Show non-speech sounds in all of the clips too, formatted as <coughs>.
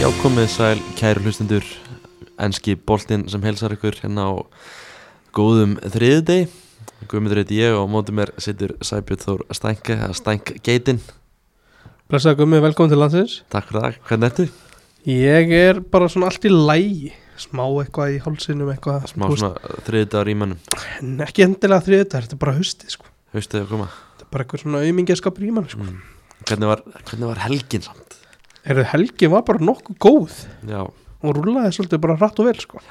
Já, komið sæl, kæru hlustendur Enski boltinn sem helsar ykkur hérna á góðum þriðdegi Guðmundur heiti ég og á móti mér situr Sæbjörn Þór Stænke eða Stænk Geitin Blessaði Gummi, velkomin til landsins Takk fyrir það, hvernig ertu? Ég er bara svona allt í lægi Smá eitthvað í hálsinum eitthvað Smá þú veist, svona þriðdagar í mannum En ekki endilega þriðið þetta er bara hustið sko Haustuði að koma Þetta er bara eitthvað svona auðmingjaskapur í mann sko mm. hvernig, var, hvernig var helgin samt? Heyrðu, helgin var bara nokkuð góð Já, Og rúlaði svolítið bara hratt og vel sko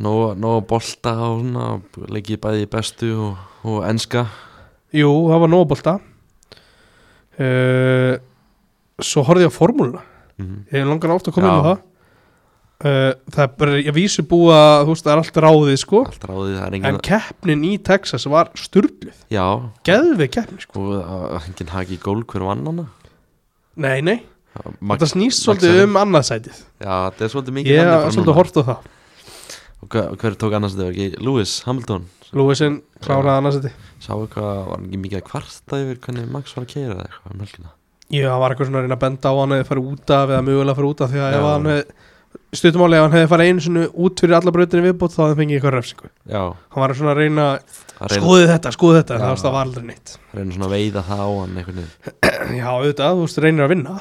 nóg nóg að bolta og svona Leikið bæði í bestu og, og enska Jú, það var nógabólta uh, Svo horfði ég á formúluna mm. Ég langar oft að koma Já. um það uh, Það er bara, ég vísu búa Þú veist, það er allt ráðið sko Allt ráðið, það er En engin keppnin í Texas var sturdluð Já, Geðvið keppni sko og uh, engin haki í gól hver vann hana Nei, nei Mag, Þetta snýst Max svolítið Verstappen. um annarsætið Já, þetta er svolítið mikið Ég þannig er bara svolítið núna. hort á það Og hver, hver tók annars þetta var ekki? Lewis Hamilton Lúiðsinn kláraði annarsæti Sá eitthvað, var hann ekki mikið að kvarta yfir hvernig Max var að keira eða eitthvað um helgina Ég var eitthvað svona að reyna að benda á hann eða fara út af eða mögulega fara út af því að Já. ef hann hefði stuttumáli ef hann hefði farið einu sinni út fyrir alla brautinni viðbútt þá hefði hann fengið eitthvað refsingu Já, Sko- Hann var svona að reyna að reyna, skoðið þetta, skoðið þetta en Já. það varst- það var aldrei neitt reyna svona að veiða það á hann einhvern veginn Já, auðvitað, þú veist, reynir að vinna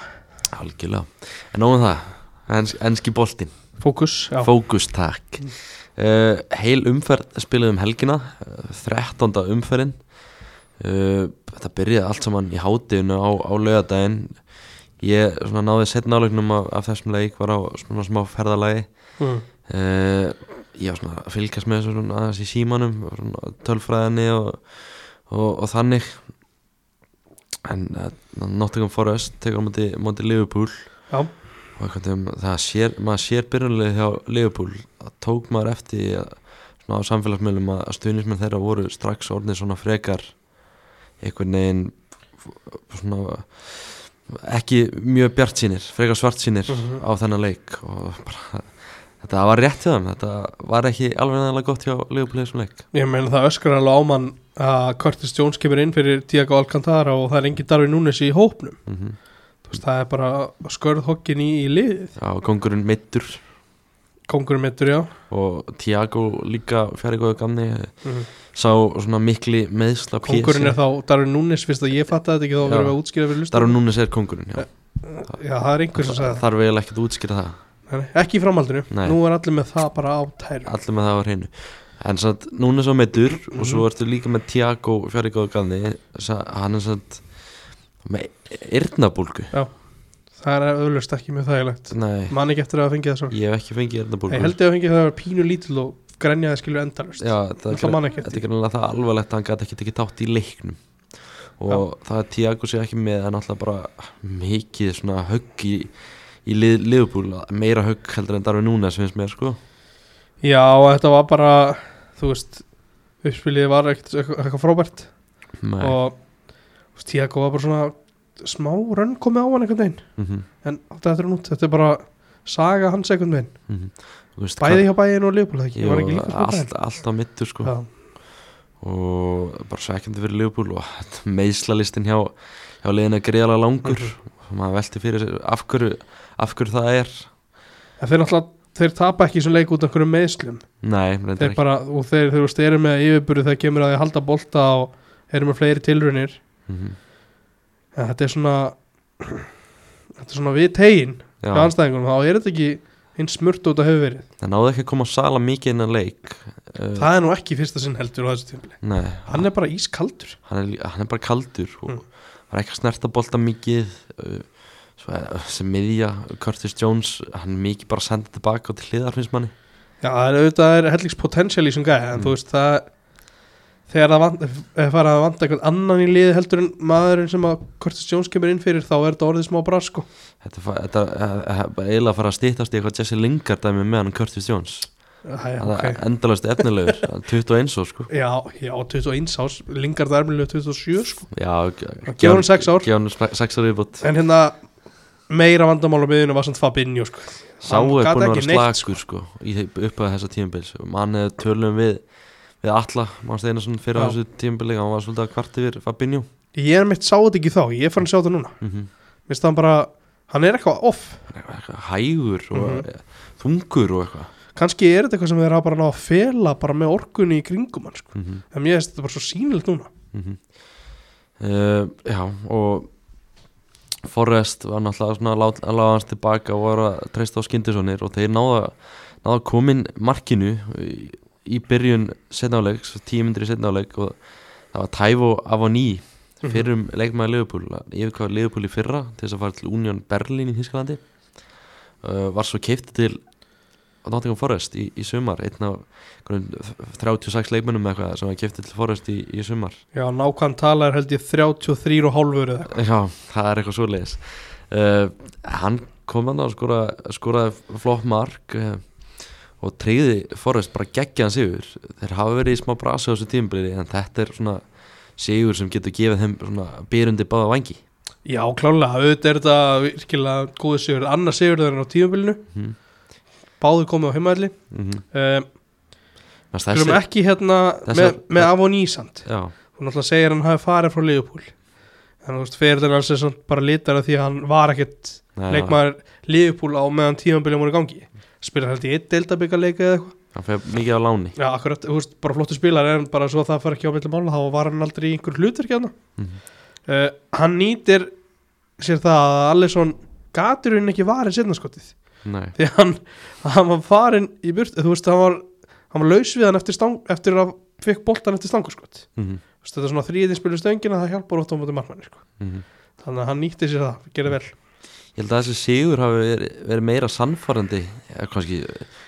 Algjörlega En nógum það, ens, enski boltinn Fókus, já, Fókus takk uh, Heil umferð spilaði um helgina uh, 13. umferðin uh, Þetta byrjaði allt saman í hátíðinu á, á laugardaginn Ég svona náði setna álegnum af, af þessum leik var á svona smá ferðalagi mm. uh, ég var svona að fylgjast með þessu svona aðeins í símanum svona tölfræðinni og, og, og þannig en uh, Nottingham Forest tekur á móti, móti Liverpool já, og einhvern veginn það sér, maður sér byrjunlega hjá Liverpool það tók maður eftir því að, svona á samfélagsmiðlum að stuðnismenn þeirra voru strax orðin svona frekar einhvern veginn f- svona ekki mjög bjart sínir, frekar svart sínir Mhm. á þennan leik og bara, þetta var rétt hjá þeim þetta var ekki alveg nægilega gott hjá Liverpool í þessum leik ég meina það öskar alveg á mann að Curtis Jones kemur inn fyrir Tiago Alcantara og það er engin Darwin Núnes í hópnum mm -hmm. Þú veist, það er bara skörðhokkin í, í liðið Já, kongurinn meittur Kongurinn mittur, já og Tiago líka fjari góðu gamni Mhm. sá svona mikli meðsla Kongurinn er þá Darwin Núnes, fyrst að ég fatta þetta ekki þá Já. verðum við að útskýra fyrir Darun lustum Núnes er kongurinn, já Já, það er einhver sem Eh, sagði það Þarf eiginlega ekkert að útskýra það Nei, nei, Ekki í framhaldinu, Nei. nú er allir með það bara á tæru Allir með það á hreinu En samt, núna svo meittur og Mhm. svo ertu líka með Tiago Fjarrikóðu Gandhi Hann er samt með yrnabólgu Það er auðlust ekki mjög þægilegt Nei, Man ekki eftir að hafa fengið það svona ég hef ekki fengið yrnabólgu Ég held ég að fengið það að vera pínu lítil og grenjaði skilur endalust Já, þetta Það er man ekki þetta er eftir greinlega það alvarlegt að hann gæti ekki tekið þátt í leiknum og það að Tiago sé ekki með er náttúrulega bara mikið svona högg í, í lið, liðbúl meira högg heldur en darfi núna sem finnst mér sko Já, þetta var bara, þú veist Uppspilið var ekkert eitthvað eitthvað frábært Nei. Og þú veist, Tiago var bara svona Smá rönn komið á hann einhvern veginn Mhm, En þetta er nút, þetta er bara Saga hans einhvern veginn mhm. Þú veist, Bæði hvað- hjá bæðin og Leopold ekki, ég var ekki Jú, líka allt, allt á mittur sko Já, og bara svekkjandi fyrir Liverpool og <laughs> meðslalistin hjá, hjá liðinu er greiðalega langur Mhm. maður velti fyrir sér af hverju, af hverju það er en þeir náttúrulega þeir tapa ekki sem leik út af einhverjum meðslum nei, reyndar þeir ekki bara, og þeir, þeir, þeir eru með yfirbúru þegar kemur að þeir halda bolta og eru með fleiri tilraunir Mhm. en þetta er svona þetta er svona við tegin Já, hjá anstæðingunum, þá er þetta ekki eins smurt út að hefur verið, það náði ekki að koma sala mikið innan leik uh, það er nú ekki fyrsta sinn heldur á þessu tímpli, nei, hann er bara ískaldur hann, er, lí- hann er bara kaldur og Mm. var ekki að snerta bolta mikið uh, svo, eh, sem miðja Curtis Jones, hann er mikið bara að senda tilbaka og til hliðar finnst manni já, það er auðvitað er hellings potential í sem gæði, en Mm. þú veist það þegar það vant, ef fara að vanta einhvern annan í liði heldur en maðurinn sem að Curtis Jones kemur inn fyrir, þá er þetta orðið smá sko. brasko þetta, fa- þetta eh, eh, eiginlega að fara að stýttast í eitthvað Jesse Lingard dæmi með hann Curtis Jones Æ, Það okay. er endalast efnilegur, hann er 21 svo sko Já, já, 21 árs, Lingard er ermilega 27 sko. Já, Gefur hann sex ár. Gefur hann spe- sex ár viðbútt En hérna, meira vandamál á miðinu var samt Fabinho sko. Sá er Hann búin gat að vera ekki neitt, slagur sko Í upp að þessa tímabils Mann hefði tölum við Við alla, mann steina svona fyrir á Já. þessu tímabili Hann var svolítið að kvart yfir Fabinho Ég er mitt sá þetta ekki þá, ég fann að sjá þetta núna mm -hmm. Mér finnst hann bara, hann er eitthvað off eitthvað hægur og þungur og eitthvað kannski er þetta eitthvað sem þeir hafa bara náð að fela bara með orkunni í kringum hann sko. mm -hmm. en mér finnst þetta bara svo sýnilegt núna Mhm. Eh, Já, og Forrest var náttúrulega svona að lá- að láta hans tilbaka og var að treysta á skyndisonir og þeir náða, náða komin markinu í, í byrjun setnáleik, tíu myndri setnáleik og það var Tævo Avoní Mhm. fyrir um leikmaði Liverpool yfirkvæði Liverpool í fyrra til þess að fara til Union Berlin í Þískalandi uh, var svo keift til Nottingham Forest í, í sumar einn af einhverjum 36 leikmönnum eða eitthvað sem var keift til Forest í, í sumar já, nákvæm tala er held ég 33 og hálfur eða eitthvað. Já, það er eitthvað svoleiðis uh, Hann kom hann að skora, skoraði flott mark uh, og treyði Forrest bara geggja hans yfir þeir hafa verið í smá brasi á þessu tímbreyri en þetta er svona sigur sem getur gefið þeim svona byrjundi báða vangi já, klálega, auðvitað er þetta virkilega góði sigur, annar sigur þeirra á tíumbilinu Mhm. báðu komið á heimaðli mm -hmm. um, Þessi, Þessi, ekki hérna þessi- með, með Avonísand já, hún náttúrulega segir að hann hafi farið frá Liverpool þannig að þú veist, ferðin hans er samt bara litar af því að hann var ekkert já, leikmaður Liverpool á meðan tímanbyrjum voru í gangi spila held í eitt deildabyggarleika eða eitthvað Hann fer mikið á láni já, akkurat, þú veist, bara flottu spilar en bara svo að það fær ekki á milli mála þá var hann aldrei í einhver hlutverk hérna Mhm. uh, hann nýtir sér það að Alisson gatur hún ekki varin setna skotið <laughs> Nei, því að hann, hann var farin í burt þú veist, hann var, hann var laus við hann eftir, stang, eftir að fekk boltan eftir stangarskot mm -hmm. Þú veist, þetta er svona þrýðinspilu stöngina það hjálpar ótt á móti markmanni sko. mhm. þannig að hann nýtti sér það, gerði vel Ég held að þessi sigur hafi verið, verið meira sannfærandi eða kannski,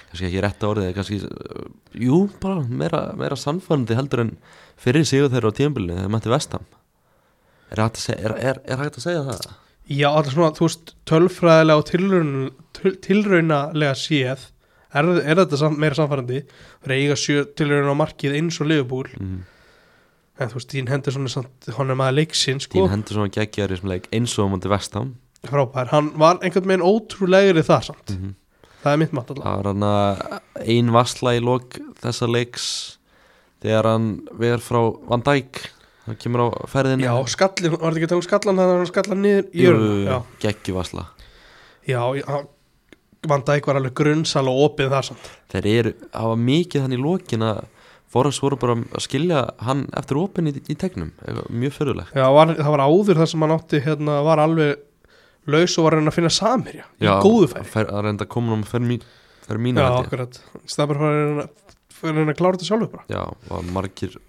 kannski ekki rétt orðið eða kannski, uh, jú, bara meira, meira sannfærandi heldur en fyrir sigur þeirra á tímbilinu þegar mætti vestam er hægt, að segja, er, er, er hægt að segja það? já, alltaf svona, þú veist, tölfræðilega og tilraun, til, tilraunalega séð er, er þetta sam, meira samfærandi það er eiga sjö tilraun á markið eins og liðbúl Mm. en þú veist, Dín Henderson er samt, hann er maður leiksin sko, Dín hendur svona geggjaður í þessum leik eins og á mætti vestam frábær, hann var einhvern veginn ótrúlegri þar samt, Mhm. það er mitt mat alltaf það var hann að ein vassla í lok þessa leiks þegar hann verð frá Van Dijk það kemur á ferðinu já, skallin, var þetta ekki að tala um skallan þannig að hann skallan niður í jörn já, geggjuvasla já, já Van Dijk var alveg grunnsal og opið þar samt þeir eru, hafa mikið hann í lokin að Forrest voru bara að skilja hann eftir opinn í, í tegnum Eitthvað mjög fyrirlegt Já, var, það var áður þar sem hann átti hérna, var alveg laus og var að reyna að finna samherja í góðu færi fer, að reynda að koma hann fer, mín, fer mínu Já, akkurat, stafur var að reyna að reyna að klára þetta sjálfur bara já, og margir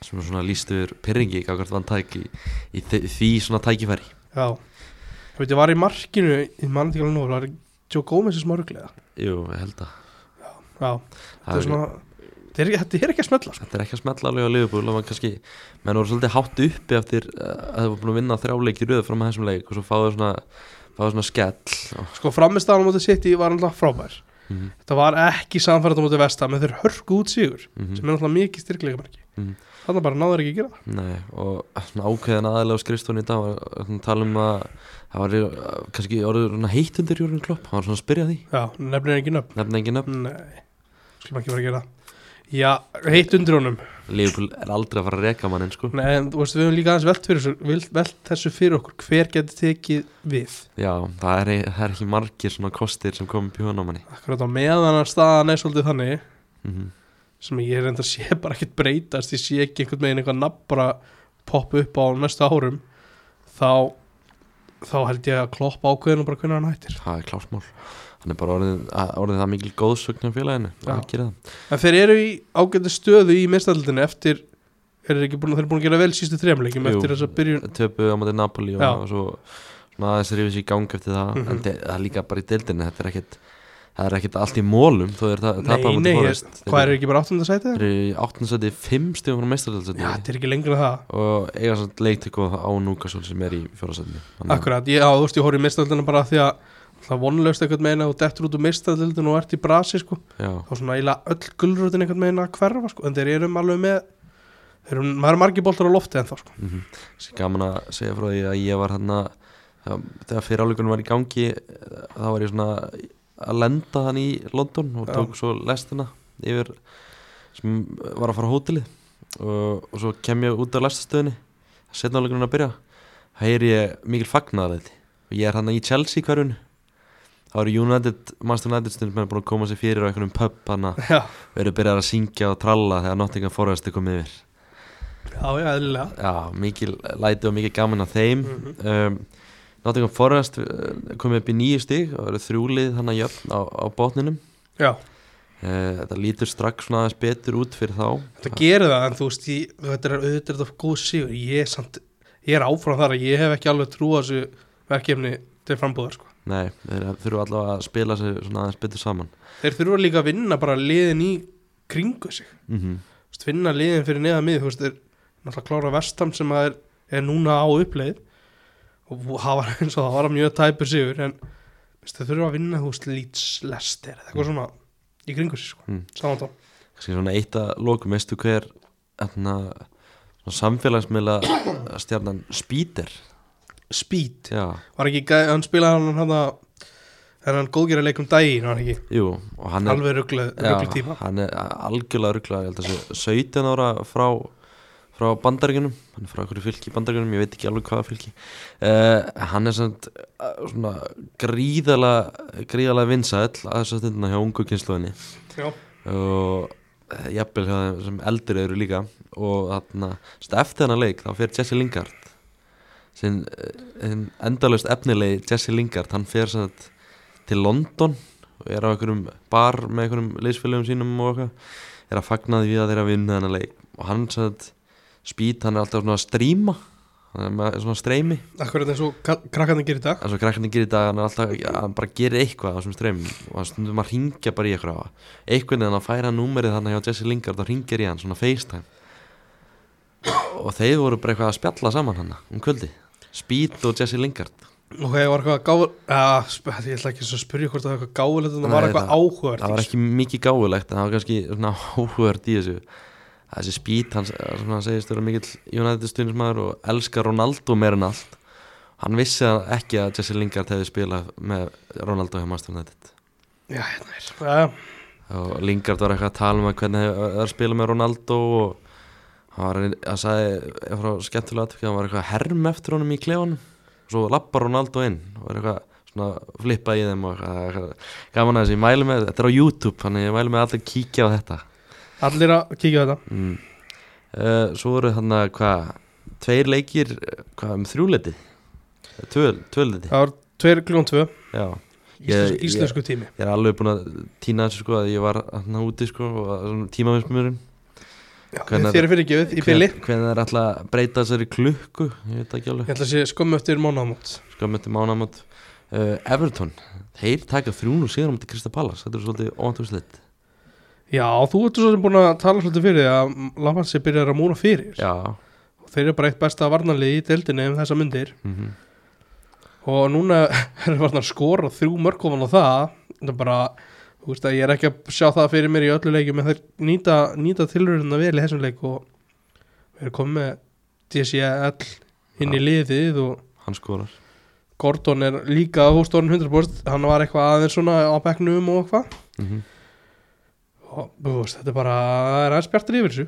sem svona lístu yfir pyrringi kakvart vann tæk í, í þi- því svona tækifæri Já, ég veit, ég var í markinu í manntíkala nú, það var Joe Gomez sem marglega jú, ég held að Já, það þetta er er, svona þetta er, ekki- þetta er ekki að smella sko. þetta er ekki að smetla alveg á liðbúl og maður kannski, menn voru svolítið hátt uppi eftir eh, að það var búin að vinna þrjáleiki röðu fram að þessum leik og svo fáðu svona fáðu svona skell og, sko framistafan á móti sitt í var alltaf frábær mm -hmm, Þetta var ekki samfærið á móti vestam en þeir hörku út sigur sem er alltaf mikið styrkleika marki Mhm. Þannig bara náður ekki að gera það Nei, og eh, svona ákveðin aðalega á skrifstofan í dag var að tala um að það var uh, kannski orður svona heitt undir Jórgen Klopp, hann var svona að spyrja að því Já, nefnir ekki nöfn nefn engin nöfn, Nei, skulum ekki fara að gera það. Já, heitt undir honum Liverpool er aldrei að fara að reka mann sko. Nei, en þú veist, við höfum líka aðeins velt, fyrir, þessu- vel- velt þessu fyrir okkur Hver getur tekið við? Já, það er, það er ekki margir svona kostir sem komum pjóðan á manni Akkurat á meðan að staðan er svolítið þannig mm -hmm. sem ég reyndar sé bara ekkert breytast ég sé ekki einhvern veginn eitthvað nafn bara poppa upp á næstu árum þá, þá held ég að kloppa ákveðinu bara hvernig hann hættir Það er klármál Hann er bara orðið, að- orðið það mikil góðsögn á félaginu Já. að gera það En þeir eru í ágæti stöðu í mistaldinu eftir er ekki búin, þeir eru búin að gera vel sístu þremleikjum Jú. eftir þess að byrjun Töpu á móti Napoli og, Já. og svo svona aðeins rífið sér í gang eftir það Mhm. en de- það er líka bara í deildinu, þetta er ekkit það er ekkit allt í mólum þó er það tapað á Nei, móti nei, ég- Forest. Þeir hvað eru- er ekki bara áttunda sætið? Þeir eru í 18 seti, 5 stíðum frá Já, þetta meistarhaldsæti er ekki lengra en það og eiga samt leiktöku á Núkasól sem er í fjórasæti Akkurat, ég, á, þú veist, ég horfði í mistaldina bara af því að það vonlaust eitthvað meina og dettur út úr mistaldildin og ert í brasi, sko Já, þá svona eiginlega öll gulrútin eitthvað meina að hverfa, sko, en þeir eru alveg með þeir eru, maður er margir boltar á lofti en þá, sko mm gaman að segja frá því að ég var hann að þegar fyriráleikunum var í gangi eh, þá var ég svona að lenda hann í London og Já. tók svo lestina yfir sem var að fara á hótelið og, og svo kem ég út af lestastöðinni setna áleikunum að byrja heyri ég mikil fagnaðarleiti og ég er hann í Chelsea hverjun þá eru United, Master United stundum er búin að koma sér fyrir á einhvernum pub hann að <laughs> Já, veru byrjar að syngja og tralla þegar Nottingham Forest er komið yfir já, já, eðlilega Já, mikið læti og mikið gaman að þeim mm um, Nottingham Forest uh, komið upp í nýju stig og eru þrjúlið hann að jöfn á, á botninum Já, uh, þetta lítur strax svona aðeins betur út fyrir þá þetta gerir það en þú veist, ég, þetta er auðvitað þetta góð sigur ég er, samt, ég er áfram þar að ég hef ekki alveg trú á þessu verkefni til frambúðar sko. Nei, þeir þurfa allavega að spila sig svona aðeins betur saman Þeir þurfa líka að vinna bara liðin í kringu sig mm -hmm. Þú veist, vinna liðin fyrir neða mið þú veist, þeir náttúrulega klára vestam sem að er, er núna á uppleið og vú- það var <laughs> eins og það var mjög tæpur sigur en þú veist, þeir þurfa að vinna þú veist, lítslestir eða eitthvað svona í kringu sig sko. Mm. samantá Svona eitt að lokum, veistu hver hérna, svona samfélagsmiðla stjarnan Spíter Speed, Já, var ekki, gæ- hann spilaði hann hann að hann góðgerða leikum daginn, var hann ekki jú og hann er, alveg ruggluð já, ruggluð tíma hann er algjörlega ruggla ég held að sé 17 ára frá frá bandaríkunum, hann er frá okkur fylki í bandaríkunum, ég veit ekki alveg hvaða fylki uh, hann er samt uh, svona gríðala gríðala vinsæll að þess að stundina hjá ungu kynsluðinni já, og eh, jafnvel hjá þeim sem eldri eru líka og þarna, sem eftir þennan leik þá fer Jesse Lingard sem en endalaust efnilegi Jesse Lingard, hann fer sem sagt, til London og er á einhverjum bar með einhverjum leysfélögum sínum og eitthvað, er að fagna því að þeir að vinna þennan leik og hann sem sagt, spýt, hann er alltaf svona að stríma hann er með svona streymi akkurat eins og ka- krakkarnir gerir í dag eins og krakkarnir gerir í dag hann, er alltaf, hann bara gerir eitthvað á þessum streymin og hann stundum að ringja bara í eitthvað eitthvað en að færa númerið þannig hjá Jesse Lingard og ringir í hann svona FaceTime og þeir voru bara eitthvað að spjalla saman hann um kvöldi Speed og Jesse Lingard og það var eitthvað gáð ég ætla ekki eins og að spyrja hvort það var eitthvað gáð þetta Nei, var eitthvað það- áhugavert það var ekki mikið gáfulegt en það var kannski svona áhugavert í þessu að þessi Speed, hann, sem hann segist vera mikill United stuðnismæður og elskar Ronaldo meir en allt hann vissi að- ekki að Jesse Lingard hefði spilað með Ronaldo hjá Master United já, hérna er já, og Lingard var eitthvað að tala um að hvernig það er að spila með Ronaldo og hann var að sagði frá skemmtilega atvökk hann var eitthvað að herm eftir honum í klefanum og svo lappar Ronaldo inn og er eitthvað svona að flippa í þeim og eitthvað, eitthvað. gaman að þessi, ég mælu með þetta er á YouTube þannig ég mælu með alltaf að kíkja á þetta allir að kíkja á þetta mm. uh, svo voru hann að hvað, tveir leikir eh, hvað um þrjúleiti Tvöl, tvöleiti, það var 2 klukkan 2 já íslensku, Ég- ég- íslensku tími ég er alveg búinn að týna þessu sko að ég var hann úti sko og tímavinsmurinn já, Hvenær- þér er fyrir ekki við í bili hvernig er alltaf að breyta þessari klukku ég veit ekki ég alveg, ætla að sé skömmu eftir mánáðamót sko með þetta mánamót uh, Everton, þeir taka þrjún og síðan um til Krista Pallas, þetta er svolítið óvantúrsleitt já, þú ert svo sem búin að tala svolítið fyrir því að Lafansi byrjar að múna fyrir já, og þeir eru bara eitt besta varnarlið í deildinni um þessa myndir mm og núna <laughs> er það að skora þrjú mörg ofan á það það er bara, þú veist að ég er ekki að sjá það fyrir mér í öllu leikjum en þeir nýta, nýta tilröðuna vel í þessum leik og við erum komið með DCL inn í liðið og hann skorar Gordon er líka hóstorn 100% hann var eitthvað aðeins svona á bekknum og eitthvað mm og þú veist, þetta er bara það er aðeins bjartur yfir þessu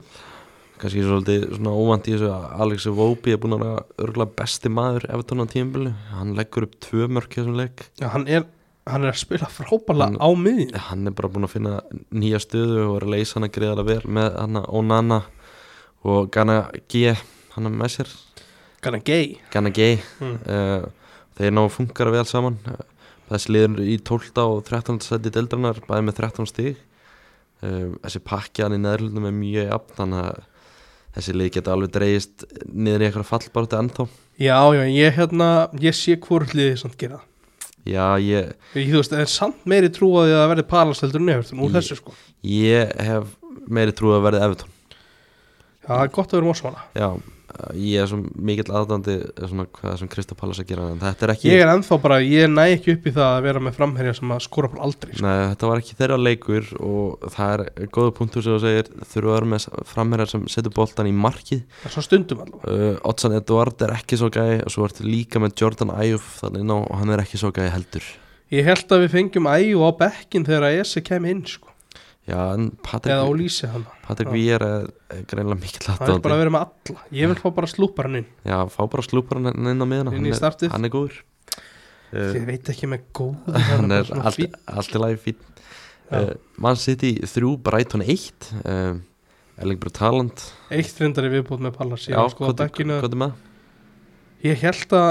kannski svolítið svona óvant í þessu að Alex Vopi er búinn að vera örgulega besti maður Everton á tímabili, hann leggur upp tvö mörk í þessum leik, Já, hann, er, hann er að spila frábæla Hann- á miðin hann er bara búinn að finna nýja stöðu og er að leysa hann að greiða vel með hann Onana og Gana G hann er með sér, kannan gay Gana G mm. uh, þeir ná að funkar vel saman uh, þessi liður í 12 og 13 seti deildrarnar, bæði með 13 stig uh, þessi pakkjan í neðurlundum er mjög jafn þannig að þessi lið geta alveg dreigist niður í eitthvað fallbáratu ennþá já, já, ég hérna ég sé hvort liðið samt gera það já, ég, Ég, þú veist, það er samt meiri trú á því að það verði Palace heldur en Everton úr Ég- þessu sko. ég hef meiri trú að verði Evertón Já, það er gott að vera mósmála. já, uh, ég er svo mikill aðdandi eh, svona hvað sem Kristó Pallas að gera en þetta er ekki Ég er ennþá bara, ég næ ekki upp í það að vera með framherja sem að skora bara aldrei. Sko. Nei, þetta var ekki þeirra leikur og það er góða punktur sem þú segir þurfa að vera með framherjar sem setur boltan í markið Það er svo stundum allavega. uh, Otsan Eduard er ekki svo gæði og svo ertu líka með Jordan Ayuf þannig ná og hann er ekki svo gæði heldur Ég held að við fengjum æju á bekkin þegar að Ese kem inn sko. já en Eða á Patrik, lýsi hann. Patrik Já. Víer er, er greinlega mikill Það er bara að aðdóndi vera með alla. Ég vil fá bara slúpar hann inn. já fá bara slúpar hann inn á miðuna Inn hann í er, startið. hann er góður Ég uh, veit ekki með góð hann er allt, allt í lagi fín uh, Man City 3, Brighton 1 uh, Erling Brutaland Eitt reyndari viðbúð með Pallas Ég, Já, var sko á hvað dekkinu- hvað er með? ég held að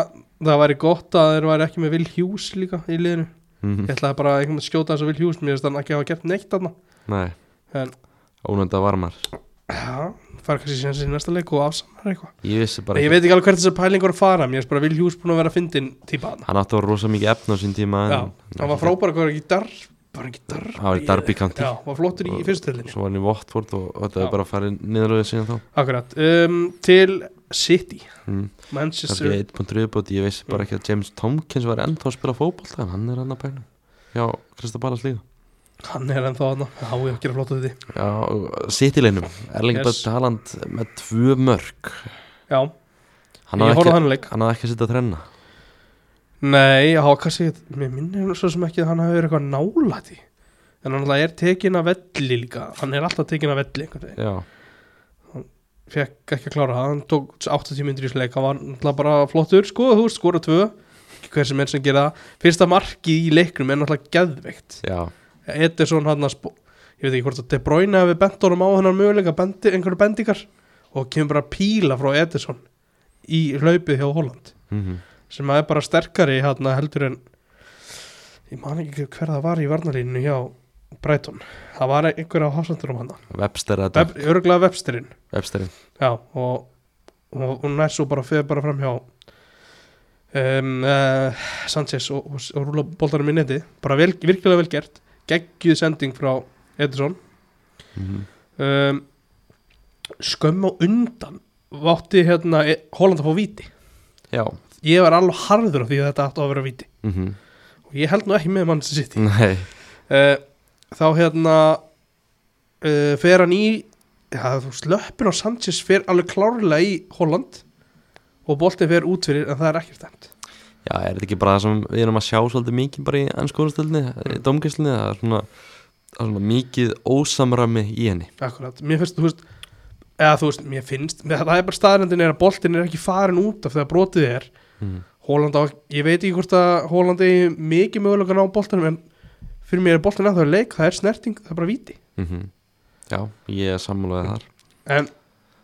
það væri gott að þeir væri ekki með Will Hughes líka í liðinu Mhm, Ég ætlaði bara að einhvern veginn skjóta þessu Will Hughes Mér finnst hann ekki hafa gert neitt þarna Nei, En ónönda varmar já, fara kannski síðan í næsta leik og afsannar eitthvað Ég vissi bara Nei, Ég ekki veit ekki alveg hvert þessi pæling voru að fara Mér finnst bara Will Hughes búin að vera að fyndin típa þarna Hann átti að vera rosa mikið efn á sín tíma en- Já, Hann var frábæra hvað var ekki dar Var ekki dar Hann var í Derby County. Já, var flottur í fyrstu delinni Svo var hann í Watford og og þetta Já. er bara að fara niðurlega síðan þá Akkurat, um, til City Mm. Það Manchester er eitt punktur viðbót, ég veist bara ekki að James Tomkins var ennþá að spila fótbolta en hann er hann að pæla Já, Krista Ballas líka Hann er ennþá hann Já, ég hef gera flott að því Já, City-leinum, Erling Yes. yes. Bött Haaland með tvö mörg Já, Hann ég hafði horfði á ekki, hann leik hann hafði ekki að sitja að trenna Nei, já, kannski Mér minnir svo sem ekki að hann hafi verið eitthvað nálæti En hann alltaf er tekin að velli líka Hann er alltaf tekin að velli einhvern veginn Já, Fekk ekki að klára það Hann tók 80 myndir í sleik Hann var alltaf bara flottur Sko, þú veist, skora tvö Ekki Hver sem er sem gera það Fyrsta markið í leiknum er alltaf geðveikt já, Edison hann að spó ég veit ekki hvort að De Bruyne hefði bent honum á hennar möguleika bendi, einhverju bendingar og kemur bara píla frá Edison í hlaupið hjá Holland mm sem að er bara sterkari hann heldur en ég man ekki hver það var í varnalínu hjá Brighton það var einhver á hásandurum hann Webster eða Web, örgulega Websterinn Websterinn já og, og, og nær svo bara fyrir bara fram hjá um, uh, Sanchez og, og, og rúla boltanum í neti bara vel, virkilega vel gert geggjuð sending frá Edison Mhm. um, skömm á undan vátti hérna e- Holland að fá víti Já, ég var alveg harður á því að þetta átti að vera víti mhm, og ég held nú ekki með mann sem sitt nei uh, þá hérna uh, fer hann í já, þú slöppin á Sanchez fer alveg klárlega í Holland og boltið fer út fyrir en það er ekkert dæmt Já, er þetta ekki bara það sem við erum að sjá svolítið mikið bara í ennskóðastöldinni, mm. domgæslinni það er svona, það er svona mikið ósamrami í henni akkurat, mér finnst, þú veist eða þú veist, mér finnst, það er bara staðrendin er að boltin er ekki farin út af þegar brotið er mm. Hóland á, ég veit ekki hvort að Hóland eigi mikið mögulega að ná boltanum en fyrir mér er boltan að það er leik, það er snerting það er bara víti, Mhm. Já, ég er sammálaðið þar en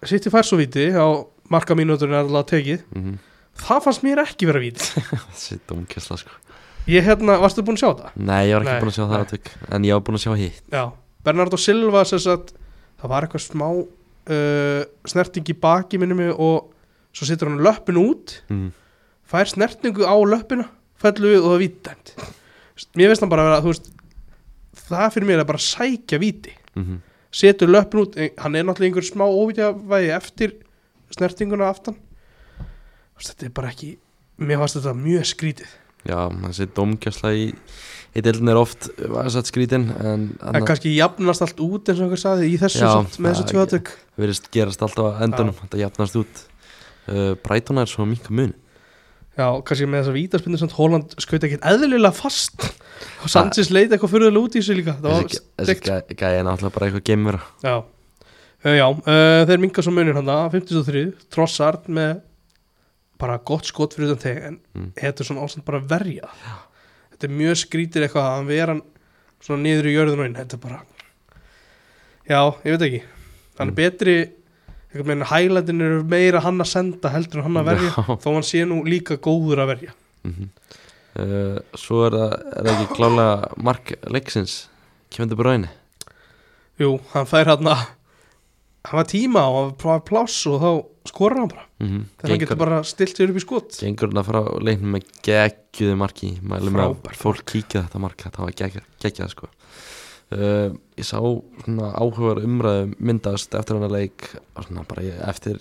City fær svo víti á marka mínúturinn er alltaf tekið, mm -hmm. það fannst mér ekki vera víti Þessi domgæsla sko ég hérna, varstu búin að sjá það? Nei, ég var ekki Nei, búin að sjá það nei. aðtök En ég var búin að sjá hitt Já, Bernardo Silva sess að það var eitthvað smá uh, snerting í baki minni mig og svo situr hann löppin út mm. fær snertningu á löppina fellur við og það er vítdæmt mér finnst hann bara að vera, þú veist það fyrir mér er bara að sækja víti Mm -hmm. setur löppin út, en hann er náttúrulega einhver smá óvítjavægi eftir snertinguna aftan Þú veist, þetta er bara ekki, mér fannst þetta mjög skrítið Já, þessi domgæsla í Í deildin er oft Sætt skrítin En en það kannski jafnast allt út eins og einhver saði í þessu Já, samt, með þessu það- tvöðatök verðist gerast alltaf að endanum Þetta jafnast út uh, Brighton er svo minka mun já, kannski með þessa vítaspindu samt Holland skaut ekkert eðlilega fast og Sanchez leit eitthvað fyrir út í þessu líka það var Þessi gæ- þessi steikt. gæ- gæi er náttúrulega bara eitthvað geimvera já, uh, já uh, þeir minga svo munir hann það 53, Trossard með bara gott skot fyrir utan teg en mm. Mm. þetta er svona ástand bara að verja já. þetta er mjög skrítir eitthvað að hann vera svona niður í jörðun og inn þetta er bara já, ég veit ekki, hann er Mm. betri einhvern veginn hælætin eru meira hann að senda heldur en hann að verja Já. þó hann sé nú líka góður að verja mm uh, Svo er það, er það ekki klálega Mark leiksins Kefandi Bræni jú, hann fær hann að hann var tíma og hann var pláss og þá skorar hann bara mm -hmm. þegar hann getur bara stilt sér upp í skot Gengur hann að frá leiknum með geggjuðu marki Mælum með að Frábært fólk kíkja þetta mark Þetta var geggjað geggjað, sko uh, Ég sá svona áhugaður umræðu myndast eftir hann að leik svona bara ég, eftir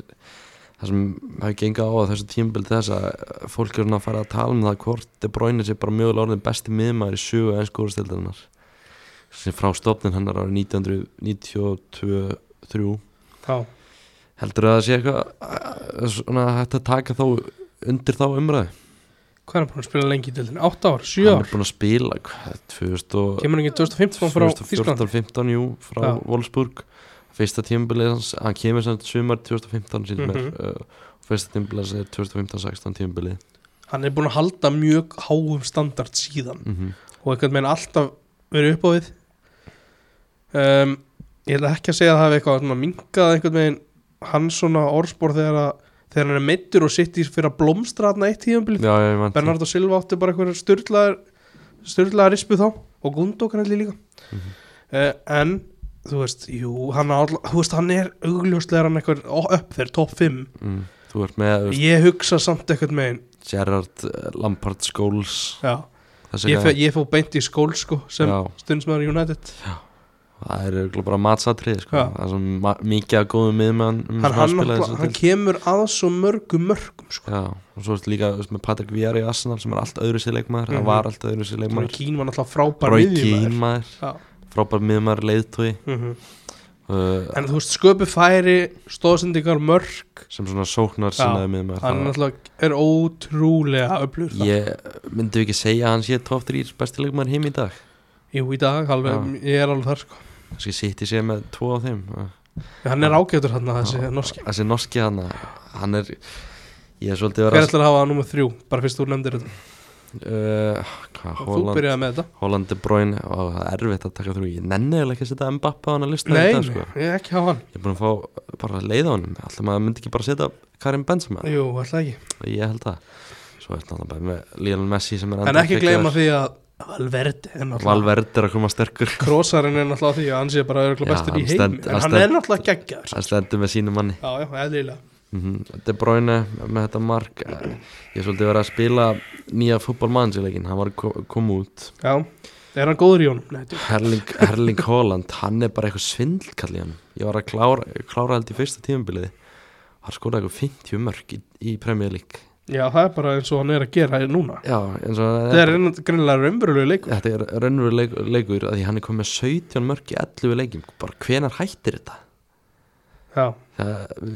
það sem hefur gengið á á þessu tímabil til þess að fólk er svona að fara að tala um það hvort De Bruyne sé bara mjögulega orðin besti miðmaður í sögu ennsku úrstildarinnar sem frá stofnin hennar árið 1992 3 já, heldur að það sé eitthvað uh, svona hægt að taka þá undir þá umræðu hvað er hann búin að spila lengi í deildinu? 8 ár, 7 hann ár, er búin að spila hvað, 2000 og- kemur hann ekki 2015 frá Þískland 2014-15 jú, frá Já. Wolfsburg fyrsta tímabilið hans, hann kemur samt sumar 2015 síðan mm Mhm. uh, fyrsta tímabilið hans er 2015-16 tímabilið hann er búin að halda mjög háum standard síðan mm -hmm. og einhvern veginn alltaf verið upp á við um, ég ætla ekki að segja að það hafi eitthvað svona minkað einhvern veginn hans svona orðspor þegar, að, þegar hann er meittur og sitt í fyrir að blómstra hann eitt tíðanbilið Já, ég vant Bernardo Silva átti bara einhverjar styrlaðar styrlaðar rispu þá og Gundók hann líka Mhm. uh, en þú veist, jú, hann, á alla- þú veist, hann er augljóslega er hann eitthvað upp fyrir topp 5 mm. Þú ert með þú veist, ég hugsa samt eitthvað með einn Gerrard, eh, Lampard, Scholes Já, þessi ég, fe, gæjar. ég fó beint í skól sko sem Já, stundsmaður United það er örugglega bara matsatrið sko. Já. það er svo ma- mikið að góðum miðmann um sem hann, að hann, spila hann, þessu hann deild. kemur að svo mörgum mörgum sko. Já, og svo ertu líka þú veist, með Patrick Vieira í Arsenal sem er allt öðru sér leikmaður Mhm. hann var allt öðru sér Roy leikmaður Keane var náttúrulega frábær Roy miðjumaður. Keane maður, Já, frábær miðmaður leiðtói mhm. uh, en þú veist sköpu færi stóðsendingar mörg sem svona sóknar sinnaði miðmaður hann Það- náttúrulega er ótrúlega öflugur þar. ég myndi ekki segja að hann sé top 3 besti leikmaður heim í dag Jú, í dag, alveg, ég er alveg þar sko kannski sitt í sig með tvo af þeim uh. Hann er ágætur hann að þessi Já. norski þessi norski hann hann er ég er svolítið Hver verið að ætlar að hafa nummer þrjú, bara fyrst þú nefndir þetta uh, hvað, Þú Holland, byrjaði með þetta Holland de Bruyne og það er erfitt að taka þrjú ég nenni eiginlega ekki að setja Mbappe á hann að lista Nei, í dag, nei, sko. ég ekki hafa hann ég er búin að fá bara leið á hann alltaf maður myndi ekki bara setja Karim Benzema Jú, alltaf ekki ég held það svo er þetta bara með Lionel Messi sem er En ekki gleyma geggjaður. því að Valverdi er náttúrulega Valverde er að koma sterkur Krossarinn er náttúrulega því að hann sé bara Já, örugglega bestur hann í heimi stend- En hann hann er stend- náttúrulega geggjaður sko. hann stendur með sínu manni Já, já, eðlilega mm De Bruyne með þetta mark eh, ég er svolítið verið að spila nýja fútbolmannsleikin, hann var að ko- koma út Já, er hann góður í honum? Nei, djú. Herling, Herling Holland, hann er bara eitthvað svindlkall í hann ég var að klára, klára held í fyrsta tímabiliði hann skoraði eitthvað 50 mörg í, í Premier League Já, það er bara eins og hann er að gera núna já, eins og Það er greinlega raunverulega leikur þetta er raunveruleg leikur að því hann er komið með 17 mörg í 11 leikum bara hvenar hættir þetta Já, það,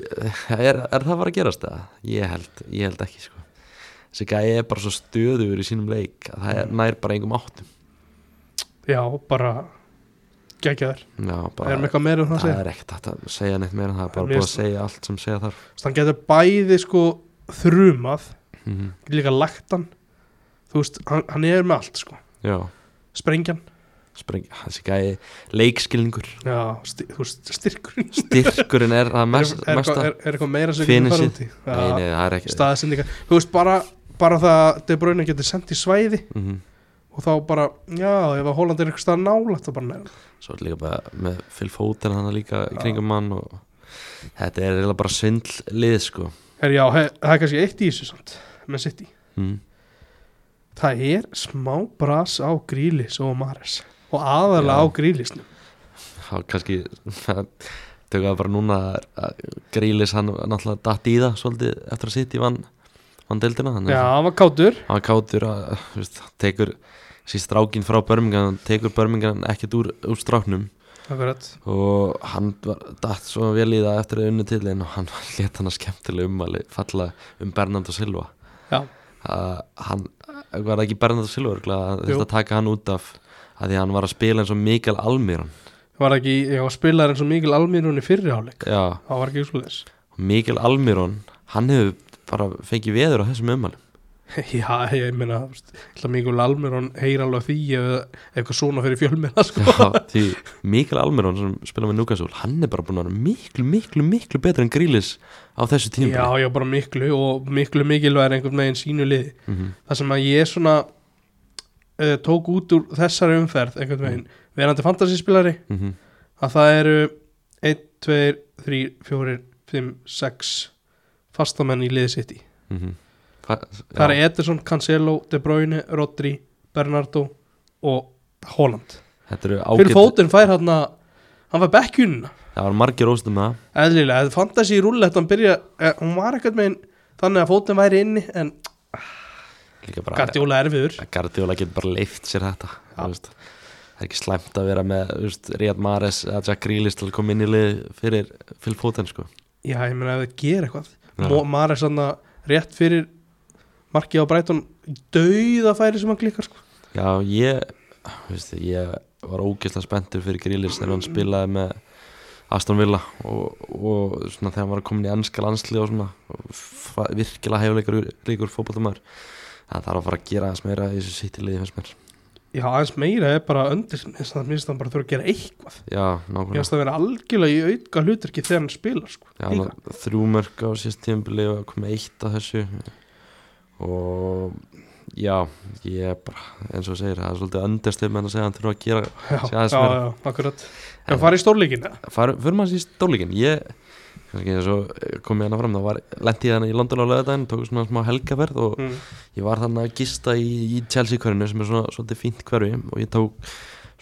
er, er það bara að gerast það? ég held, ég held ekki sko þessi gæi er bara svo stöður í sínum leik að það er, nær bara engum áttum já, bara geggjaður já, Er bara, með eitthvað meira um það að segja? það er ekkert hægt að segja neitt meira en það er Mér bara búið að finnst- segja allt sem segja þarf Þannig hann getur bæði sko þrumað, mm líka lagt hann þú veist, hann, hann er með allt sko já sprengjan, sprengi, þessi gæi leikskilningur já, sti, þú veist, styrkurinn styrkurinn er það er, mest, er, mesta eitthvað- er, er eitthvað meira sem getur Finishið. fara út í nei, nei, Já, það er ekki staðsendingar, þú veist, bara bara það að De Bruyne getur sendt í svæði mm og þá bara, já, ef að Holland er eitthvað stað nálægt þá bara nærð svo er líka bara með Phil Foden hann líka í Já. kringum mann og þetta er eiginlega bara svindl lið sko Her, já, he, það er kannski eitt í þessu samt með City mm. það er smá bras á grílis og Mares og aðalega Já. á grílisnum þá kannski tökum það bara núna að grílis hann náttúrulega datt í það svolítið eftir að sitja í vann vann deildina þannig já, að hann var kátur hann kátur að þú veist, tekur sér strákin frá börmingan tekur börmingan ekkert úr, úr stráknum akkurat og hann var datt svo vel í það eftir að unnu tilin og hann <laughs> let hann að skemmtilega ummæli falla um Bernardo Silva Já. að hann var það ekki Bernardo Silva örugglega, að Jú. þetta taka hann út af að því að hann var að spila eins og Mikael Almiron var ekki, já, spilaði eins og Mikil Almirón í fyrriháleik já, það var ekki úsleis og Mikael Almiron hann hefur bara fengið veður á þessum ummæli <laughs> já, ég meina, þú veist, ætla Mikil Almirón heyr alveg því ef eitthvað svona fyrir fjölmiðla <laughs> sko. því Mikael Almiron sem spila með Núkasúl hann er bara búin að vera miklu, miklu, miklu betur en Grílis á þessu tíma já, já, bara miklu og miklu mikilvægir einhvern veginn sínu liði Mhm, það sem að ég svona uh, tók út úr þessari umferð einhvern veginn, verandi fantasyspilari mhm, að það eru 1, 2, 3, 4, 5, 6 fastamenn í liði sitt í mhm. Það það er Ederson, Cancelo, De Bruyne, Rodri, Bernardo og Holland. þetta eru Fyrir ágætt fótinn fær hann að, hann fær bekkjunna. það var margir óstum með það Eðlilega, það fantasi í rúllett, hann byrja, eh, hún var ekkert meginn þannig að fótinn væri inni en líka bara Gardiola erfiður. Gardiola getur bara leift sér þetta Já. þú veist. það er ekki slæmt að vera með þú veist, Ríad Mares eða Jack Grealish til að koma inn í lið fyrir Phil Foden sko. Já, ég meina ef það gera eitthvað. Já. Mo- Mares hann að rétt fyrir markið á Brighton dauða færi sem hann klikkar sko. já ég þú veist, ég var ógeðslega spenntur fyrir Grealish þegar hann spilaði með Aston Villa og, og svona, þegar hann var komin í ennska landslið og svona og fa- virkilega hæfuleikur líkur fótballtumar það þarf að fara að gera aðeins meira í þessu sýttiliði fyrst mér Já, aðeins meira er bara öndir þess að minnst hann bara þurfa að gera eitthvað já, Ég nákvæmlega veist að vera algjörlega í auka hluturki þegar hann spilar sko. Já, líka. ná- þrjú mörg á síðast tíðanbili og komið eitt að þessu og já, ég er bara, eins og þú segir það er svolítið öndastum en að segja að hann þurfa að gera Já, sé já, aðeins já, meira. akkurat En fara í stórleikina Far- förum maður í stólíkin ég, kannski eins og komið hana fram þá var, lendi ég hana í London á lögadaginn tók svona smá helgaferð og mm. ég var þannig að gista í, í Chelsea hverfinu sem er svona svolítið fínt hverfi og ég tók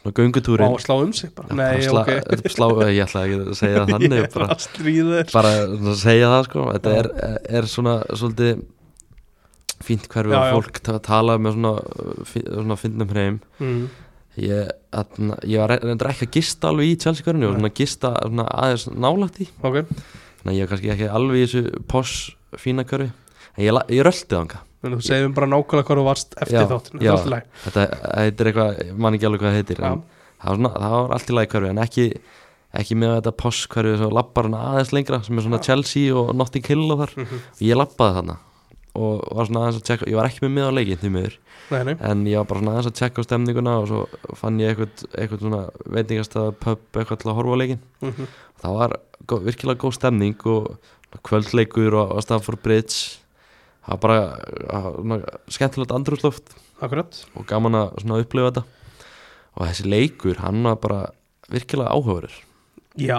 svona göngutúrin Á að slá um sig bara Já, Nei, <laughs> bara ok sla, slá, ég ætla ekki að segja það Ég <laughs> þannig er bara, bara að stríða þér bara að segja það sko þetta Já. er, er svona svolítið fínt hverfi Já, og já. fólk ta- tala með svona, uh, fí- svona fyndnum hreim mm. ég, þarna- ég var reyndar ekki að gista alveg í Chelsea hverfinu, ég var Nei. svona að gista svona aðeins nálægt í, Ok, þannig að ég var kannski ekki alveg í þessu poss fína hverfi en ég, la- ég rölti þanga en þú segðum bara nákvæmlega hvað þú varst eftir Já, þáttin já. Það er allt í lagi þetta heitir eitthvað, ég man ekki alveg hvað það heitir Já. en það var, svona, það var allt í lagi hverfi en ekki, ekki með þetta poss hverfi sem lappar hann aðeins lengra sem er svona Chelsea og Notting Hill og þar Mhm. ég lappaði þarna og var svona aðeins að tjekka, ég var ekki með mig á leikin því miður, Nei, nei, en ég var bara svona aðeins að tjekka á stemninguna og svo fann ég eitthvað, eitthvað svona veitingastað pub eitthvað til að horfa á leikin Mhm. það var gó, virkilega góð stemning og kvöldleikur og, og Stamford Bridge það var bara það var svona skemmtilegt andrúsloft akkurat og gaman að svona upplifa þetta og þessi leikur, hann var bara virkilega áhugaverður Já,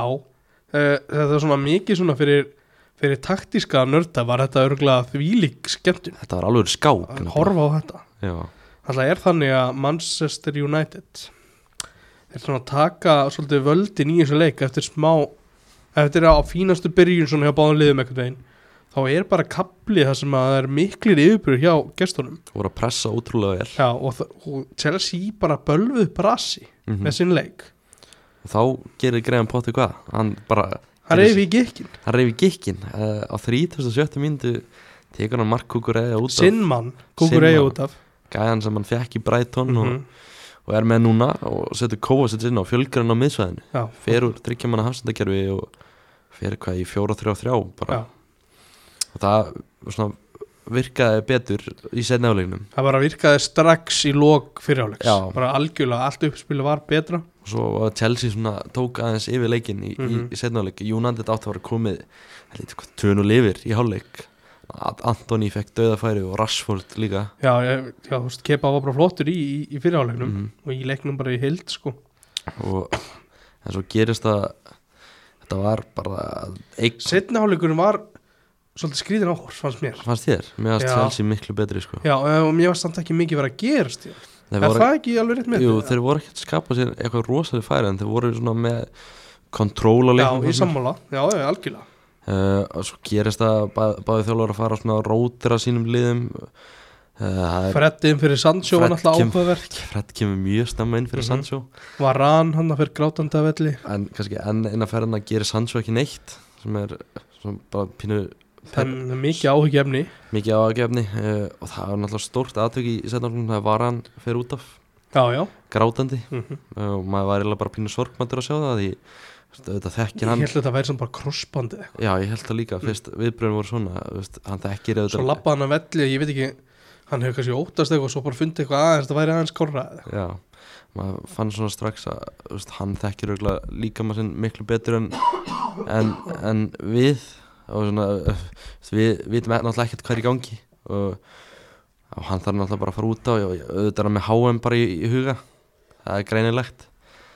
Eh, þetta er svona mikið svona fyrir, fyrir taktíska nörda var þetta örgulega þvílík skemmtun þetta var alveg skák að nefnilega. horfa á þetta Já. Það er þannig að Manchester United er svona að taka svolítið völdin í þessu leik eftir smá eftir að á fínastu byrjun svona hjá báðum liðum einhvern veginn þá er bara kaplið það sem að það er miklir yfirbyrju hjá gestunum voru að pressa ótrúlega vel Já, og, þa- og Chelsea bara bölvuð brasi mm með sinn leik og þá gerir Graham Potter hvað hann bara, Það reyfi í gikkin, hann reyfi gikkin uh, á 37. myndu tekur hann markkúkur eða út af sinn mann kúkur Sinn eigi mann. út af gæðan sem hann fekk í Brighton Mhm. og, og er með núna og setur kóa sér inn á fjölgrann á miðsvæðinu Já, fer úr þryggjamanna hafsendakerfi og fer hvað í 4-3-3 bara Já. og það svona, virkaði betur í setna álegnum það bara virkaði strax í lok fyrirháleiks Já. bara algjörlega, allt uppspilu var betra og svo var Chelsea svona tók aðeins yfir leikin í, mm Mhm. í setna áleik United átt að vera komið tönul yfir í hálfleik Að Antoni fekk döðafæri og Rashford líka Já, ég, já þú veist, Kepa var bara flottur í, í, í fyrirháleiknum Mhm. og í leiknum bara í hild sko og en svo gerist það þetta var bara eik, setni hálfleikurinn var svolítið skrýðin áhors fannst mér fannst þér, mér fannst Já. Chelsea miklu betri sko. já eh, og mér var samt ekki mikið verið að gerast ég. þeir, er voru, það ekki alveg rétt með jú, þeir voru ekki að skapa sér eitthvað rosalega færi en þeir voru svona með kontról á já, leiknum í fannst mér. sammála, já, já, algjörlega uh, og svo gerist það bæ, báði þjálfur að fara svona rótira sínum liðum uh, það er freddiðin fyrir Sandsjó var Fred náttúrulega kem- áhugavert Fred kemur mjög snemma inn fyrir Mhm. Sancho var rann hann að fyrir grátandi af velli en kannski enn eina ferðina gerir Sancho ekki neitt sem er sem bara pínu það er mikið áhugjefni mikið ágefni uh, og það var náttúrulega stórt aðtök í setnarflunum það var hann fyrir út af já, já, grátandi mm uh, og maður var eiginlega bara pínu sorgmæntur að sjá það því þú veist, auðvitað ég þekkir hann held að þetta væri sem bara krossbandi eitthvað. já ég held það líka fyrst viðbröðin voru svona þú veist, hann þekkir svo auðvitað lappa hann af velli, ég veit ekki hann hefur kannski óttast eitthvað og svo bara fundið eitthvað aðeins það væri aðeins korra já maður fann svona strax að þú veist, hann þekkir auðvitað líka maður sinn miklu betur en, en, en við og svona uh, við vitum náttúrulega ekkert hvað er í gangi og, og hann þarf náttúrulega bara að fara út á og auðvitað er hann með HM bara í, í huga það er greinilegt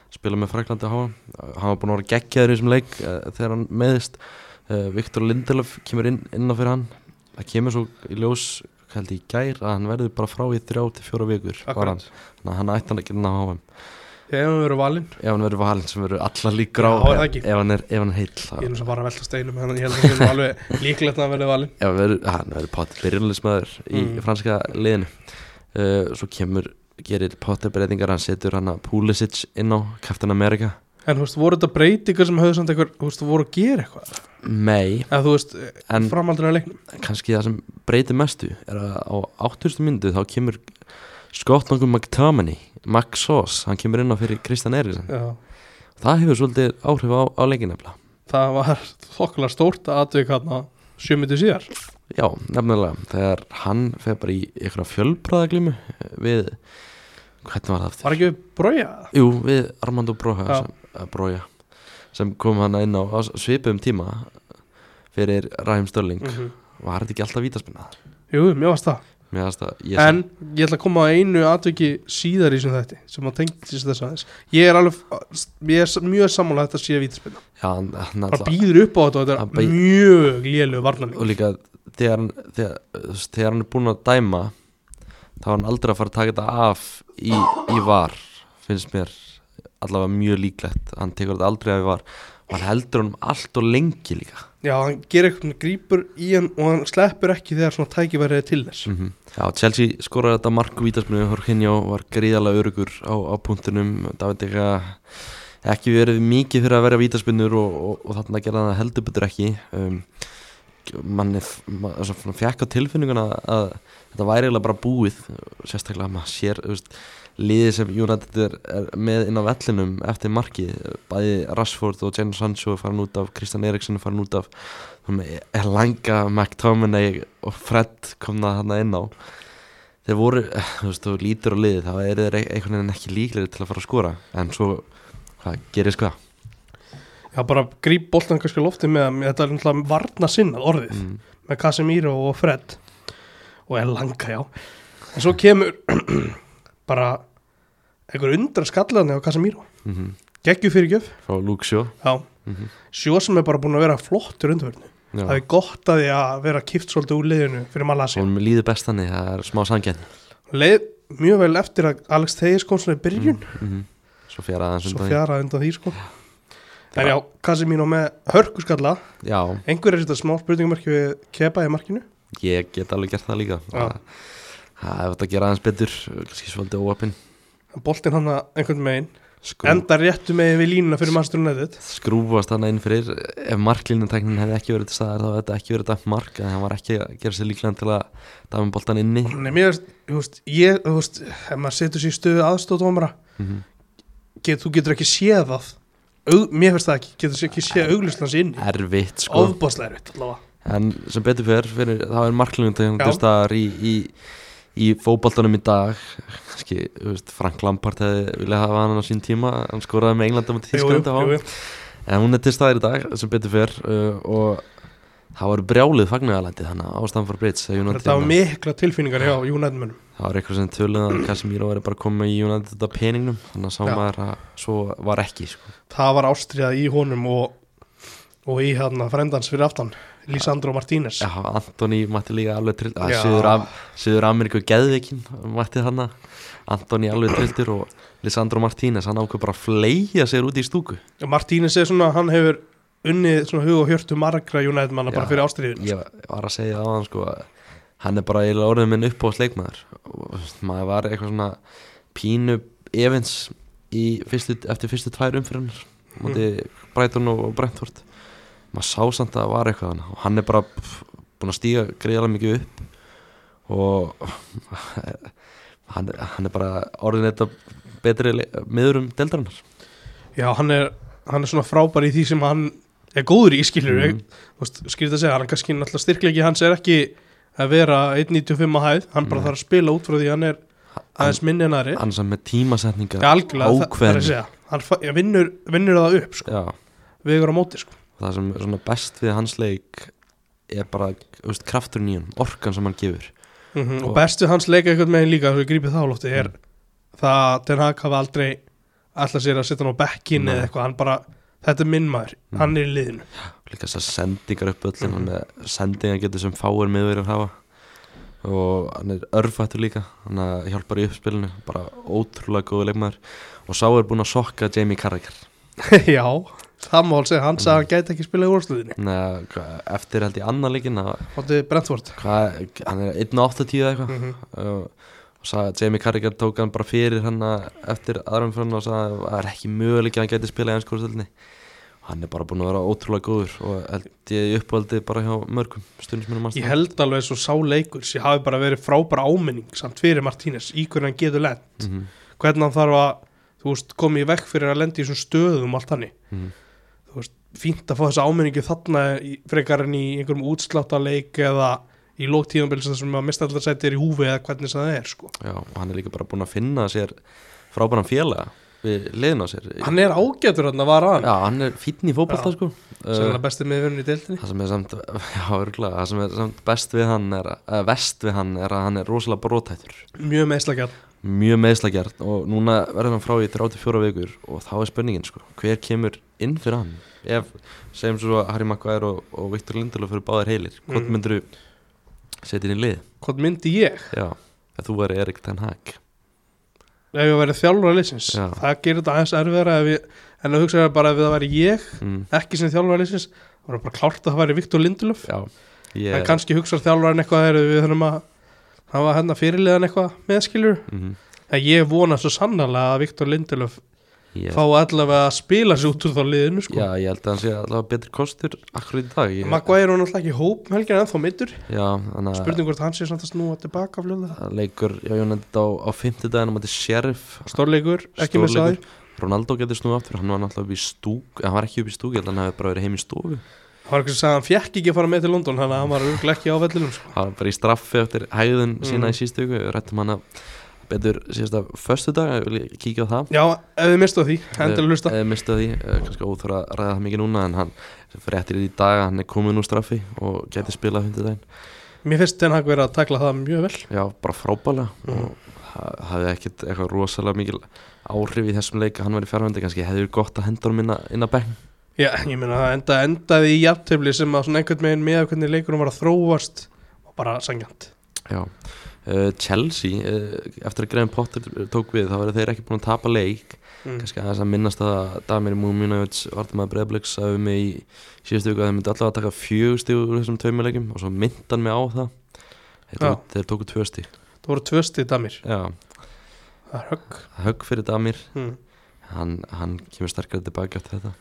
spila með Fraklandi á HM hann var búin að vera geggjaður í þessum leik uh, þegar hann meðist uh, Viktor Lindelöf kemur inn, inn á fyrir hann það kemur svo í ljós held ég í gær að hann verður bara frá í þrjá til fjóra vikur var hann. akkurat, Þannig að hann ætti hann ekki inn á HM þegar við verðum valin Ef hann verður valinn sem verður alla líkur á Já, er það ef, ekki? ef hann er, ef hann er heill ég þá- er nú svo bara að velta steinum en ég held að það sé nú alveg líklegt að hann verði valin Ef hann verður, hann verður Potter byrjunleismæður í Mm. franska liðinu uh, Svo kemur, gerir Potter breytingar Hann setur hann að Pulisic inn á Captain America En þú veist, voru þetta breytingar sem höfðu samt eitthvað, þú veist, voru að gera eitthvað? Nei, Eða þú veist, en, en framaldurinn á leiknum? kannski það sem breytir mestu Er að á 80. myndu þá kemur Skottnangum McTominay Max Sos, hann kemur inn á fyrir Kristjan Eriksson Já. Það hefur svolítið áhrif á, á leikinefla Það var þokkulega stórt aðvik hann að sjömyndu síðar. Já, nefnilega, þegar hann fer bara í ykkur fjölbræðaglimu við, hvernig var það aftur? Var ekki við brója? Jú, við Armando Broja Já. sem, eh, Broja, sem kom hann inn á á svipum tíma fyrir Ræm Störling Mm var þetta ekki alltaf vítaspinnaðar? Jú, mjög varst það Mér aðast að ég En ég ætla að koma að einu atviki síðar í sem þetta sem að tengist þess aðeins Ég er alveg, ég er mjög sammála að þetta sé vítaspinna já, hann, hann Bara alltaf, býður upp á þetta og Hann þetta bý- er mjög lélug og varnarleik líka þegar hann, þegar, þú veist, þegar hann er búinn að dæma þá er hann aldrei að fara að taka þetta af í, í var finnst mér allavega mjög líklegt hann tekur þetta aldrei af í var og hann heldur honum allt og lengi líka Já, hann gerir eitthvað, hann grípur í hann og hann sleppur ekki þegar svona tækifærið er til þess mm Já, Chelsea skoraði þetta mark vítaspinu Jorginho var gríðalega örugur á, á punktunum David Eka ekki verið mikið fyrir að vera vítaspinnur og, og, og þarna gerði hann það heldur betur ekki um, manni man, fjekk á tilfinninguna að þetta væri eiginlega bara búið sérstaklega að maður sér þú veist, liðið sem United er, er með inn á vellinum eftir markið bæði Rashford og Jane Sancho er farin út af Kristjan Eriksson er farin út af Elanga, McTominay og Fred komna þarna inn á þeir voru, eh, þú veist, þú lítur á liðið þá eru þeir ein- einhvern veginn ekki líklegir til að fara að skora en svo, hvað gerist hvað Já, bara gríp boltan kannski á lofti með að þetta er náttúrulega varna sinnað orðið mm. með Casemiro og Fred og Elanga, já en svo kemur <clears throat> bara einhver undra skallaðni á Casemiro Mm geggju fyrir gjöf, frá Luke Shaw já Mhm. sjó sem er bara búin að vera flottur undverðinu Já. það er gott að því að vera kipt svolítið úr liðinu fyrir Malassi Hún líður best þannig, það er smá sangenn leið mjög vel eftir að Alex Thegis kom svona í byrjun Mm. Mhm. Svo fjara aðeins um svo undan því. fjaraði undan því sko en já, Casemiro með hörkuskalla Já, einhver er þetta smá spurningumarki við kepa í markinu ég get alveg gert það líka Já. Það það er þetta að gera aðeins betur kannski svolítið óöppin boltinn hann einhvern megin Skrú, enda réttu megin við línuna fyrir Master United Skrúfast hann inn fyrir ef marklínutæknin hefði ekki verið til staðar þá hefði þetta ekki verið dæmt mark en hann var ekki að gera sér líklega til að dæma boltan inni Nei, mér veist, þú veist, ég, þú veist, ef maður setur sér í stöðu aðstóðdómara, Mhm. get, þú getur ekki séð það, Aug, mér finnst það ekki, getur ekki séð auglistlans inn í, Erfitt sko ofbáslega erfitt allavega. En sem betur fer, fyrir, þá er marklínutæknin Já. til staðar í, í, í fótboltanum í dag kannski, þú veist, Frank Lampard hefði viljað hafa hann á sín tíma hann skoraði með England á mútið Þísklanda á jú, En hún er til staðir í dag sem betur fer uh, og það var brjálið fagnugalæti þannig á Stamford Bridge þegar United þetta var vann. mikla tilfinningar hjá United-mönnum. það var eitthvað sem töluð að Casemiro væri bara komið í United þetta peningnum þannig að sá Já. maður að svo var ekki sko. Það var ástriðað í honum og, og í hérna frendans fyrir aftan, Lisandro Martínez. Já, Antoni mætti líka alveg trill að Sko. Já. Suður, Am Suður Ameríku geðveikin mætti hann Antoni alveg trilltur og Lisandro Martínez hann ákveð bara að fleia sér út í stúku Martínez er svona, hann hefur unnið svona hug og hjörtu margra United-manna bara Já. fyrir ástriðinu. ég var að segja það á hann sko að hann er bara eiginlega orðin minn upp á sleikmaður maður var eitthvað svona pínu evins í fyrstu, eftir fyrstu tvær umfyrir múti Brighton og Brentford maður sá samt að það var eitthvað hann og hann er bara pff, búinn að stíga greiðalega mikið upp og <laughs> hann, hann er bara orðin eitthvað betri le- miðurum deildarinnar Já, hann er, hann er svona frábær í því sem hann er góður í, skilur Mhm. mm. skilur það að segja, hann er kannski náttúrulega styrklegi hans er ekki að vera 1.95 að hæð, hann bara Nei. þarf að spila út frá því að hann er aðeins minni en aðri Mhm. hann sem með tímasetningar Já, algjörlega, það- það er ákveðin. að segja hann fa- ja, vinnur, vinnur það upp, sko, já við erum á móti sko. það sem er svona best við hans leik er bara þú veist, krafturinn í hann, orkan sem hann gefur mm -hmm. og Og- bestu hans leika einhvern veginn líka þess að grípið þá lófti Mhm. er það að Den Hag hafa aldrei alltaf sér að setja hann á bekkin Nei. eða eitthvað, hann bara, þetta er minn maður Mm. hann er í <laughs> liðinu, líka þess að sendingar upp öll mm -hmm. sendingar getur sem fáir miðverið að hafa og hann er örfættur líka hann að hjálpar í uppspilinu bara ótrúlega góðu leikmaður og sá er búinn að sokka Jamie Carragher já það má alveg segja, hann sagði að hann gæti ekki spila í úrslutinni Nei, hvað- eftir held ég annar leikin að- hótti Brentford hvað- hann er 1.80 eða eitthvað mm uh, og sagði að Jamie Carragher tók hann bara fyrir hann að- eftir aðrum fyrir hann og sagði að það er ekki möguleik að hann gæti spilað í einskóðstöldinni hann er bara búin að vera ótrúlega góður og held ég uppvaldið bara hjá mörgum stundismunum Ég held alveg svo sá leikur sem hafi bara verið frábæra áminning samt fyrir Martínez í hvernig hann getur lent mm -hmm. hvernig hann þarf að þú veist, koma í vekk fyrir að lenda í þessum stöðum allt hannig Mhm. þú veist, fínt að fá þessa áminningu þarna í, frekar en í einhverjum útsláttaleik eða í lók tíðanbils þar sem að mista allar sættir í húfi eða hvernig sem það er sko. Já, og hann er líka bara búin að finna sér frábæran félaga við liðin á sér hann er ágætur hann að vara hann Já, hann er fínn í fótbolta Já. sko sem er uh, hann bestið með í deildinni Það sem er samt, <laughs> já, örgulega Það sem er samt best við hann er að, Vest við hann er að hann er rosalega brotættur mjög meðslagjarn Mjög meðslagjart og núna verður hann frá í 34 vikur og þá er spurningin sko Hver kemur inn fyrir hann? Ef, segjum svo að Harry Maguire og, og Viktor Lindelöf fyrir báðir heilir Hvort Mhm. mm. myndur setja inn í lið? hvað myndi ég Já, ef þú verður Erik Ten Hag ef ég verið þjálfur að leysins Já. það gerir þetta aðeins erfiðara ef ég, en að hugsa bara ef það væri ég mm. ekki sem þjálfur að leysins það var bara klárt að það væri Viktor Lindelöf Já, en ég kannski hugsar þjálfurinn eitthvað þegar við þurfum að hann var hérna fyrirliðan eitthvað meðskilur Mhm. en ég vona svo sannarlega að Viktor Lindelöf Ég- fá allavega að spila sér út úr þá liðinu sko. Já, ég held að hann sé allavega betri kostur akkur í dag ég, Maguire er náttúrulega ekki í hóp um helgina ennþá mittur Já, þannig að spurning hvort hann sé samt að snúa tilbaka fljóðlega að leikur já, ég nefndi á, á fimmtudaginn á móti Sheriff stórleikur, ekki með sæði Stórleikur. Ronaldo getur snúið aftur, hann var náttúrulega upp í stúk hann var ekki upp í stúk, ég held að hann hefði bara verið heim í stofu það var eitthvað sem sagði að hann fjekk ekki að fara með til London þannig að hann var örgulega ekki á vellinum sko. hann var bara í straffi eftir hægðun sína Mm. í sístu viku, við rættum hann að betur síðasta föstu dag, ég vil kíkja á það já, ef þið mistu því, endilega hlusta eða mistu því, eh, kannski óþóra að ræða það mikið núna en hann fréttir í dag að hann er komin úr straffi og getur spilað hundudaginn mér finnst þenn hag verið að takla það mjög vel já, bara frábælega Mhm. og það hafði ekkert eitthvað rosalega mikil áhrif í þessum leik að hann var í fjárhundi kannski hefði gott að hendur minna inn að bekk já, ég meina það enda, endaði í jafntöfli sem að svona einhvern veginn með hvernig leikunum var að þróast og bara sangjant Já, uh, Chelsea uh, eftir að Graham Potter eh, tók við þá verður þeir ekki búin að tapa leik mm. kannski aðeins að minnast að Damir Múminovits vartamæður Breiðblöks að við mig í síðustu viku að þeir myndi allavega taka fjög stíg úr þessum tveimilegjum og svo myndi hann mig á það þeir tóku, þeir tóku tvö stíg það voru tvöstið damir, Já, það er högg högg fyrir Damir mm. hann, hann kemur sterkar tilbaki eftir þetta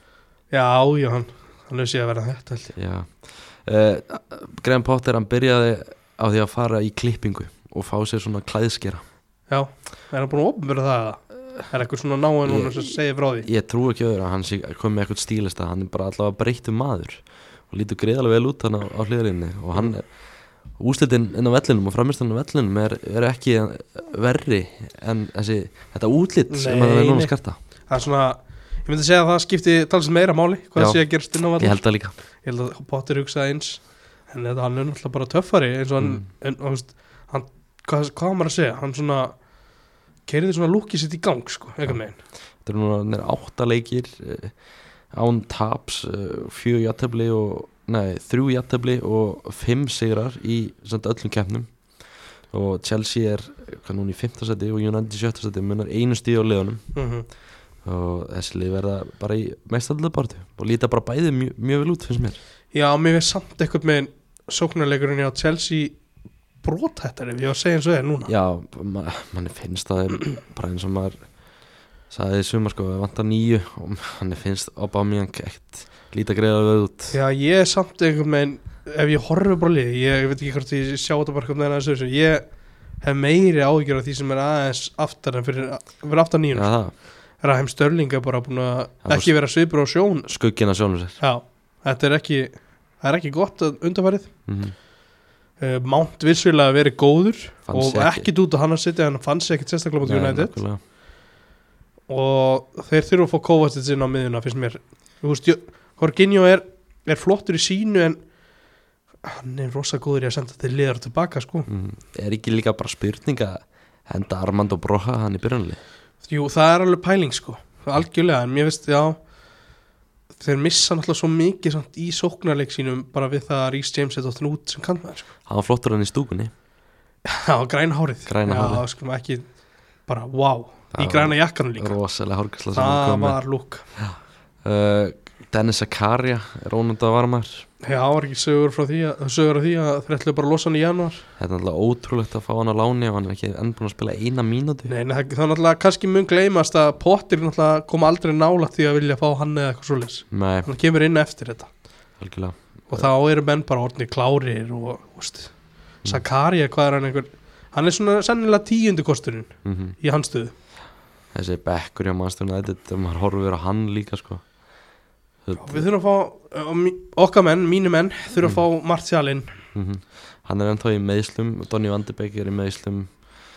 Já, já, hann, hann lausið að vera þetta held ég. Já, uh, Graham Potter hann byrjaði á því að fara í klippingu og fá sér svona klæðskera Já, er hann búin að opnverða það eða? Er eitthvað svona náin núna Ég- sem segir frá því? ég trú ekki öðru að hann sé- kom með eitthvað stílista hann er bara allavega breyttu maður og lítur greiðalega vel út hann á, á hliðarinnu og hann er úslitin inn á vellinum og framistan á vellinum er, er ekki verri en þessi, þetta útlit sem Nei, hann er núna nei. að skarta Það er svona, ég myndi segja að það skipti talsið meira máli, hvað Já. það sé að gerast inn á ég vallin. held það líka Ég held að Potter hugsaði eins, en þetta hann er náttúrulega bara töffari eins og hann, Mm. en, og, veist, hann hvað, hvað á maður að segja, hann svona keiriði svona lúkið sitt í gang, sko, eitthvað meginn. þetta er núna hann er átta leikir eh, án taps eh, fjö játtabli og nei, þrjú játtabli og fimm sigrar í samt öllum keppnum og Chelsea er hvað núna í 15. seti og United í 17. seti munar einu stíð á liðunum Mm og þessi lið verða bara í meistallabártu og líta bara bæði mjög, mjög vel út finnst mér Já, mér veist samt eitthvað meginn sóknarleikurinn hjá Chelsea brotættari, ef ég var að segja eins og það er núna. já, ma manni finnst það bara eins og maður sagði í sumar sko, við vantar nýju og manni finnst Aubameyang ekkert líta greiða vel út Já, ég er samt einhvern veginn ef ég horfi bara á liðið, ég veit ekki hvort ég sjá þetta bara einhvern veginn aðeins öðruvísi, ég hef meiri áhyggjur af því sem er aðeins aftar en fyrir, fyrir aftar já, nýjum ja. það, Raheim Störling er bara búin Það er að ekki vera svipur á sjón skuggina sjálfum sér Já, þetta er ekki það er ekki gott að undanfærið mm uh, Mount vissulega verið góður Fann sig og ekki. ekkit út á hann að sitja hann fann sér ekkit sérstaklega mot United nákvæmlega. og þeir þurfa að fá Kovacic inn á miðuna finnst mér Þú veist, ég- Jorginho er, er flottur í sínu en hann er rosa góður í að senda til liðar tilbaka sko Mhm. er ekki líka bara spurninga henda Armand og Broha hann í byrjanli Jú, það er alveg pæling sko algjörlega, en mér veist, já þeir missa náttúrulega svo mikið samt í sóknarleik sínum bara við það að Rhys James er dóttin út sem kannar sko. <laughs> hann var flottur hann í stúkunni Já, græna hárið Græna Já, hárið. skulum ekki bara, wow, í Það græna jakkanum líka rosalega hálfgæsla sem hann Það kom með var lúk uh, Dennis Akaria Rónunda Varmar Já, var ekki sögur frá því að, sögur af því að þeir ætlaðu bara að losa hann í janúar Þetta er alltaf ótrúlegt að fá hann á láni og hann er ekki enn búin að spila eina mínútu Nei, nei, það, það er náttúrulega kannski mun gleymast að Potter náttúrulega kom aldrei nála því að vilja fá hann eða eitthvað svoleiðis. Nei, Hann kemur inn eftir þetta algjörlega og þá eru menn bara orðnir klárir og, úst, Mm. Sakaria, hvað er hann einhver hann er svona sennilega tíundu kosturinn mm í hans stöðu. Þessi bekkur hjá mannstjórn Þetta er maður horfur á hann líka sko. eh, Mm. Og Við þurfum að fá, um, okkar menn, mínu menn þurfum að fá Martialinn mm hann er ennþá í meðslum Donny Vandebeek er í meðslum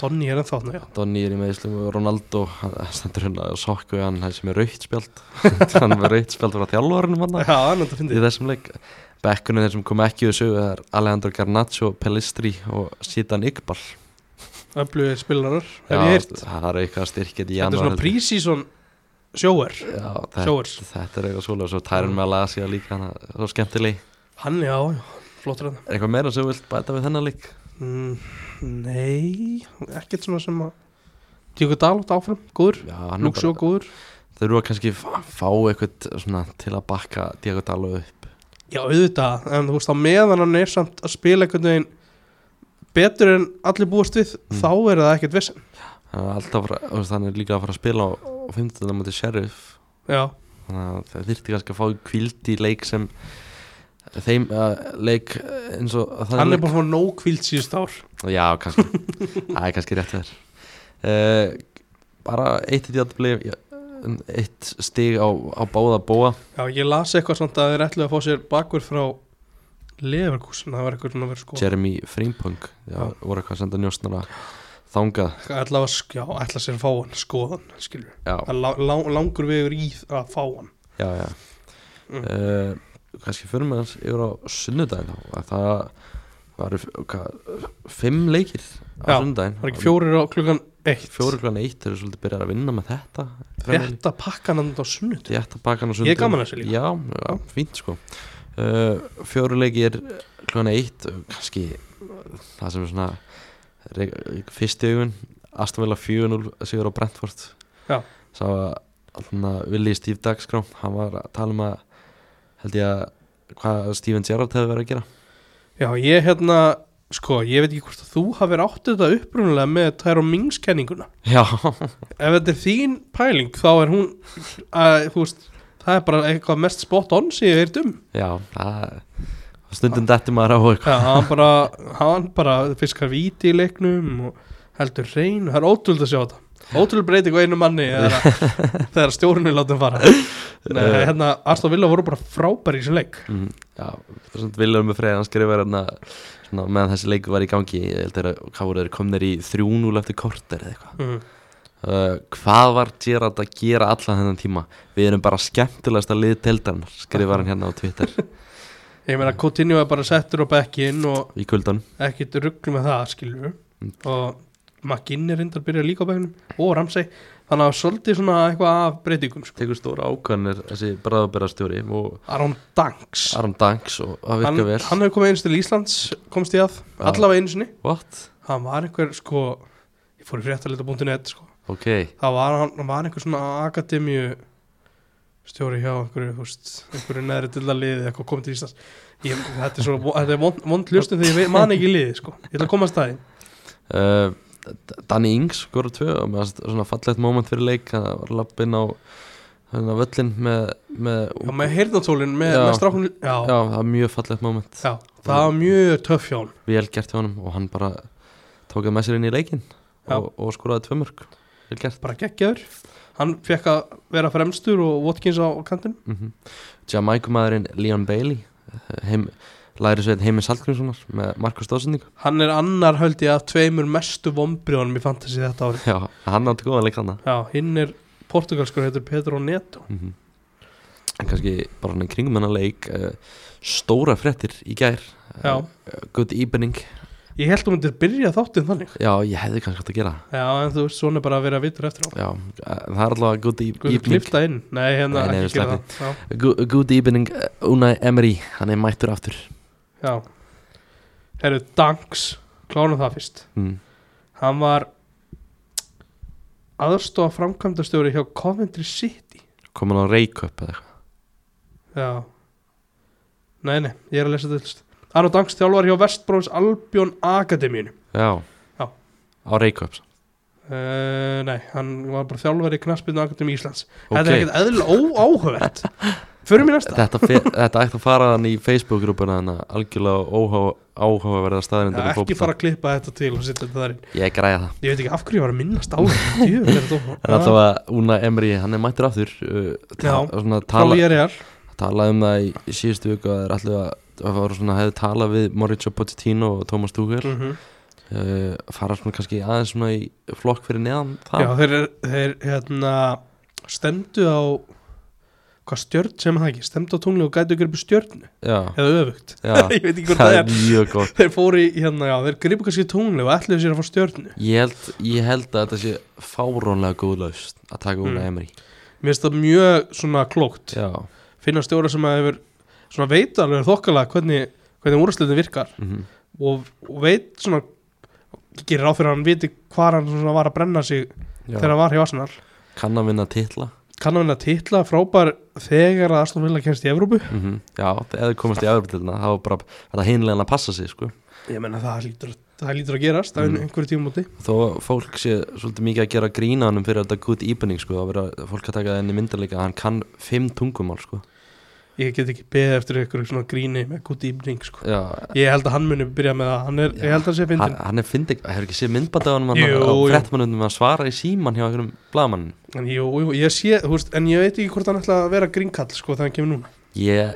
Donny er ennþá þarna, já Donny er í meðslum og Ronaldo hann hann stendur hérna og sokku hann hann sem er raukt spjald <laughs> hann er raukt spjald frá þjálfvarunum hann Já, það er náttúrulega í fyndið þessum leik Bekkunum þeir sem kom ekki úr sögu það er Alejandro Garnacho, Pellistri og Sidan Iqbal Öflugir spilarar, hef Já, ég heyrt Það er eitthvað styrkjað í Þetta er janúar svona held ég. prísíson sjóer Já, þetta, Sjóers þetta er eitthvað svolega Svo tærin með Alasia líka hann er Svo skemmtileg Hann, já, já, flottur hann Er eitthvað meira sem þú vilt bæta við þennan leik? mm, Nei, ekkert svona sem að Tíku Dalot áfram, góður Já, hann Lúk sjó góður Þau eru að kannski fá fá eitthvað svona til að bakka Diego Dalo upp Já, auðvitað, en þú veist á meðan hann er samt að spila einhvern veginn betur en allir búast við Mm. þá er það ekkert vissin Hann er alltaf, að fara- þú veist, hann er líka að fara að spila á, á 15. múti Sheriff Já, Þannig að það þyrfti kannski að fá kvíld í leik sem Þeim uh, leik eh, eins og þannig hann leik- er bara svona nóg kvíld síðust ár Já, kannski Það er kannski rétt þér uh, Bara eitt í djáttubli Eitt stig á, á báða bóa Já, ég las eitthvað samt að þeir ætlu að fá sér bakverð frá Leverkusen, það var eitthvað svona að vera sko Jeremy Frimpong Já, Já. voru eitthvað að senda njósnara þangað ætla, að, sk- já, ætla sér að fá hann, skoðan skilur, Já, það er lá- lá- langur vegur í að fá hann já, já Mm. uh, Kannski fyrir með hans yfir á sunnudaginn þá að Það var hvað, fimm leikir á Já, sunnudaginn Það er ekki fjórir á klukkan eitt Fjóri klan eitt þeir eru svolítið byrjað að vinna með þetta Þetta pakkan hann á sunnut Rétt að baka hann á Ég er sundum gaman að þessu líka. Já, já fínt sko uh, Fjóruleikir kljóna eitt uh, kannski uh, það sem er svona rey- fyrst í augun Aston Villa 4-0 sigur á Brentford Já. Sá að allna, Willi Steve Dagskrá hann var að tala um að held ég að hvað Steven Gerrard hefði verið að gera Já, ég hérna, sko, ég veit ekki hvort að þú hafir átt þetta upprunalega með Tyrone Mings kenninguna Já, Ef þetta er þín pæling þá er hún, <laughs> að, þú veist, það er bara eitthvað mest spot on sem ég hef heyrt um <laughs> já það, stundum dettur maður á eitthvað Já, hann bara, hann bara fiskar víti í leiknum og heldur hrein, það er ótrúld að sjá þetta Ótrúld breyting á einu manni þegar að- þegar stjórnum látum fara Nei, hérna, Aston Villa voru bara frábæri í þessum leik Mm, já, það er svona Viljum með Freyr, hann skrifar hérna svona, meðan þessi leiku var í gangi ég held þeirra, hvað voru þeir komnir í 3-0 eftir korter eða eitthvað mm. uh, hvað var Gerard að gera allan þennan tíma við erum bara skemmtilegast að liði teldan skrifar hann hérna á Twitter Ég meina, Coutinho er bara settur á bekkinn og í kuldan ekkit rugglu með það, skilur Mm. og McGinn er reyndar að byrja líka á bekknum og Ramsey, þannig að svolítið svona eitthvað af breytingum, sko <laughs> tekur stóra ákvæðanir þessi bræðabæðarstjóri og Aron Danks Aron Danks og það Hann, virka vel hann hefur komið einu til Íslands, komst ég að, Já. allavega einu sinni what? hann var einhver sko ég fór í fréttalita.net sko ok, það var, hann- hann var einhver svona akademíu stjóri hjá einhverju, þú veist, einhverju neðri dilla liði eitthvað komið til Íslands ég, þetta er svo, þetta er vond, vond ljustum þegar ég veit- man ekki liði sko, ég ætla að koma að staði uh, Danny Ings skora tvö og með svona fallegt moment fyrir leik hann var lappinn á hérna, völlin með, með já, með heyrnatólin, með, Já. með strákun já, já. Já, það var mjög fallegt moment það var mjög töff hjá hann Vel gert hjá honum og hann bara tók að með sér inn í leikinn Já. og, og skoraði tvö mörg Vel gert bara geggjaður, hann fekk að vera fremstur og Watkins á kantin mm -hmm. Jamaikumæðurinn Leon Bailey heim, Læri sveit Heimi Salgrímssonar með Markus Dósendingu hann er annar höldi að tveimur mestu vombriðanum í fantasy þetta árið Já, hann átti góðan leik hann já, hinn er portugalskur, heitir Pedro Neto mm -hmm. En kannski bara hann í kringum hennar leik uh, Stóra fréttir í gær Já. uh, Good evening Ég held þú myndir byrja þáttinn þannig Já, ég hefði kannski átt að gera það. Já, en þú veist, svona er bara að vera vitur eftir á Já, eh, það er allavega good e- Guður evening klifta inn Nei, hérna, Nei, nei, ekki gera sleppum. það já, Good, good evening, eh, Unai Emery Hann er mættur aftur já Herru, Danks, klánum það fyrst mm. Hann var aðstofa framkvæmdastjóri hjá Coventry City Komin á Reykjöp eða eitthvað Já Nei, nei, ég er að lesa þetta fyrst Hann og Danks þjálfar hjá Vestbrófs Albion Akademíun Já, Já. á Reykjavík uh, Nei, hann var bara þjálfar í Knaspinu Akademí Íslands Þetta er okay. ekkert eðlilega óáhugavert Förum í næsta Þetta, fe- þetta ætti að fara hann í Facebook-grúpuna þannig að algjörlega óhá- áhugaverða staðarindir Já, ekki fara að klippa þetta til og setja þetta þar inn Ég græða það Ég veit ekki af hverju ég var að minnast á þetta Djöfull er En þetta alltaf að Una Emery, hann er mættur aftur uh, ta Já, svona, Frá tala, ég er ég tala um það í, í síðustu viku að það er alltaf að það var svona, hefði talað við Mauricio Pochettino og Thomas Tuchel mm. Mhm. fara svona kannski aðeins svona í flokk fyrir neðan það Já, þeir, þeir hérna, stemdu á hvað stjörn sem það ekki, stemdu á tungli og gætu að gripa stjörnu, já, <laughs> eða öfugt já. ég veit ekki hvort það það er er mjög gott þeir fóru í, hérna, já, þeir gripa kannski tungli og ætluðu sér að fá stjörnu Ég held, ég held að þetta sé fárónlega góð laust að taka úr Mm. mm. Emery mér finnst það mjög svona klókt Já, finna stjóra sem að hefur svona veit alveg þokkalega hvernig, hvernig úrslutin virkar mm og, og veit svona gerir ráð fyrir að hann viti hvað hann svona var að brenna sig þegar já. hann var hjá Arsenal kann að vinna titla kann að vinna titla frábær þegar að Aston Villa kemst í Evrópu mm -hmm. Já, eða komast í Evroptilna þá er bara þetta hinlega að passa sig sko. ég menna það lítur, það lítur að gerast á Mm. einhverju tímumóti þó að fólk sé svolítið mikið að gera grína hann fyrir þetta good evening sko, þá verða fólk að taka þenni myndarleika að hann kann fimm tungumál sko. ég get ekki beðið eftir einhverju svona gríni með gúti íbning sko. Já, ég held að hann muni byrja með það hann er, Já. ég held að hann sé hann, fyndin hann er fyndið hefur ekki séð myndbandið á hann Jú, og jú. frettmannum að svara í síman hjá einhverjum blaðmann en, jú, jú, ég sé, þú veist, en ég veit ekki hvort hann ætla að vera grínkall sko, þegar hann kemur núna Ég,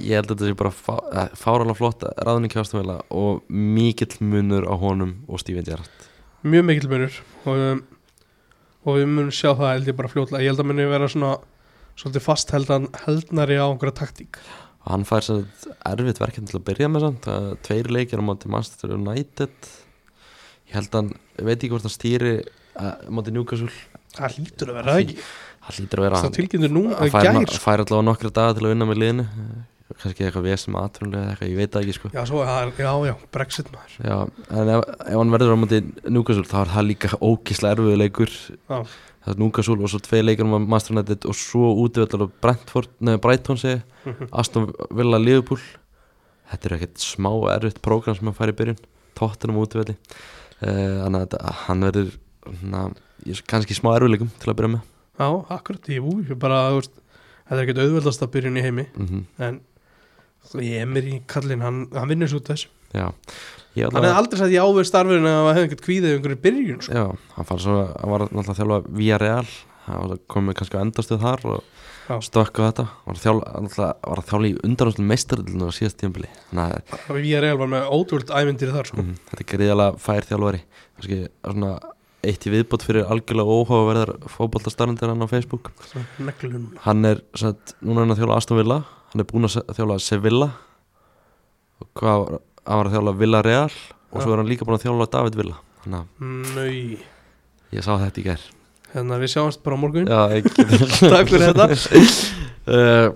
ég held að þetta sé bara fá, fáralega flott ráðning hjá Astamvila og mikill munur á honum og Steven Gerrard mjög mikil munur og, um, og við munum sjá það held ég bara fljótlega ég held að muni vera svona svolítið fast heldan heldnari á einhverja taktík og hann fær sem sagt erfitt verkefni til að byrja með samt, það er tveir leikir á móti Manchester United ég held að hann, ég veit ekki hvort hann stýri að, á móti Newcastle, það lítur að vera það ekki hann lítur að vera það hann, tilkynntur núna hann að fær, gær no- fær allavega nokkra daga til að vinna með liðinu Eh, kannski eitthvað vesum aðtrunlega eitthvað, ég veit það ekki sko já, svo, það er- já, já, Brexit maður Já, en ef, ef hann verður á móti Newcastle þá er það líka ókislega erfiðu leikur Já. það er Newcastle og svo tvei leikir um Master United og svo útvöldur og Brentford, neða Brighton segi <laughs> Aston Villa Liverpool þetta er ekkert smá erfitt prógram sem hann fær í byrjun, tóttunum útvöldi uh, þannig að þetta- hann verður na, kannski í smá erfiðleikum til að byrja með já, akkurat, ég búi ég bara, þú veist þetta er ekkert auðveldast að byrjun í heimi mm en þú, ég er mér í kallin hann, hann vinnur svo út af þessu já, ég hann hefði aldrei sagt já við starfinu að hann hefði ekkert kvíðið um einhverju byrjun sko. já, hann fann svo hann var náttúrulega að þjálfa via real hann var- kom kannski á endastuð þar og Já. stökk á þetta var að þjálfa, náttúrulega var að þjálfa í undanröndum meistaröldinu á síðast tímpili þannig að við erum var með ótrúld ævindir þar sko. Mm, þetta er gríðalega fær þjálfari kannski svona eitt í viðbót fyrir algjörlega óháverðar fótboltastarndir hann á Facebook Mm. neglu núna hann er, satt, núna er hann að þjálfa Aston Villa hann er búinn að se- þjálfa Sevilla og hvað, var- hann var að þjálfa Villarreal og Já. svo er hann líka búinn að þjálfa David Villa þannig Nei, að ég sá þetta í gær hérna við sjáumst bara á morgun Já, ekki <laughs> Takk fyrir þetta <laughs> uh,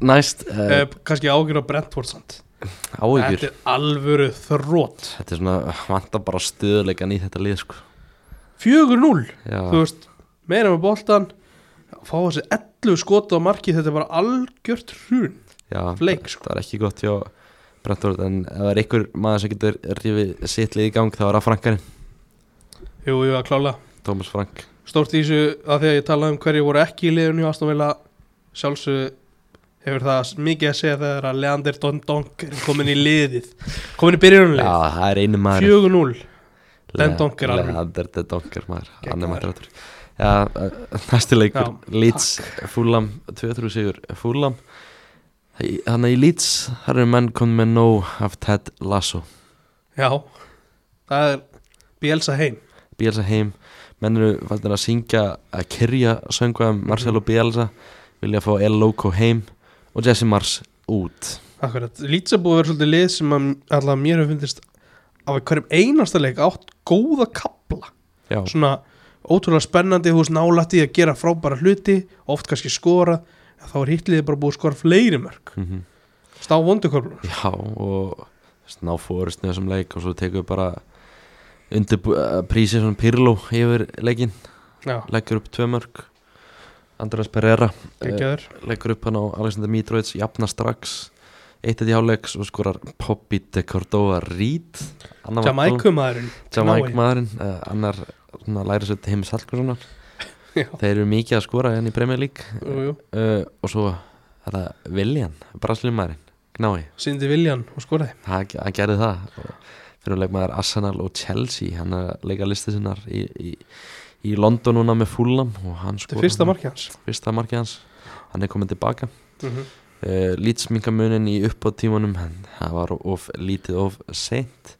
Næst, uh, eh, Kanski ágjur á Brentford samt áhyggjur Eh, Þetta er alvöru þrótt Þetta er svona, vantar bara stöðuleikan í þetta lið sko. 4-0, Já, þú veist Meira með boltan Fá þessi 11 skota á marki Þetta er bara algjört hrun já, Fleik, sko. það er ekki gott hjá Brentford en ef það er einhver maður sem getur rifið sitt lið í gang þá er það Frankarinn, Jú, jú, að klála Tómas Frank Stórt í þessu að því að ég talaði um hverju voru ekki í liðunni og aðstofnveila sjálfsög hefur það mikið að segja þegar að Leander Dondonk er komin í liðið komin í Já, byrjunlega það er einu maður 4-0 Den Donker alveg. Leander Den Donker maður, hann er Geggjaður. mættur áttur Já, eh, næsti leikur, Já, Leeds Fúlam, 2-3 sigur Fúlam Þannig í Leeds, þar eru menn komið með nóg af Ted Lasso Já, það er Bielsa heim Bielsa heim menn eru fannir að syngja að kyrja söngu um Mhm. Marcelo Bielsa vilja fá El Loco heim og Jesse Mars út Akkurat, Leeds er búið að vera svolítið lið sem að allavega mér hefur fundist af hverjum einasta leik átt góða kapla Já, svona ótrúlega spennandi hús nálætt í að gera frábæra hluti oft kannski skora en þá er hittliðið bara búið að skora fleiri mörg mm stá vonduköflum Já og þú veist, ná fórust með þessum leik og svo tekur við bara undir prísið svona Pirlo yfir leikin, Já, leggur upp tvö mörg Andrés Pereira eh, geggjaður leggur upp hann á Alexander Mitrovic jafna strax, eitt eitt í hálfleiks og skorar Poppy de Cordova Reed Annar var bolum. Jamaikumæðurinn Jamaik maðurinn, uh, annar svona, læri sér til heimis Hallgrímssonar Já. þeir eru mikið að skora henni í Premier League maðurinn uh, og svo þetta Viljan, braslum maðurinn Gnái, Sindi Viljan og skoraði hann, hann gerði það og fyrir leikmaður Arsenal og Chelsea hann er að leika listi sinnar í, í, í London núna með Fulham og hann Þetta skora er fyrsta markið hans fyrsta markið hans hann er komin tilbaka mm uh, lýtsmingamunin í uppátímanum en það var of lítið of seint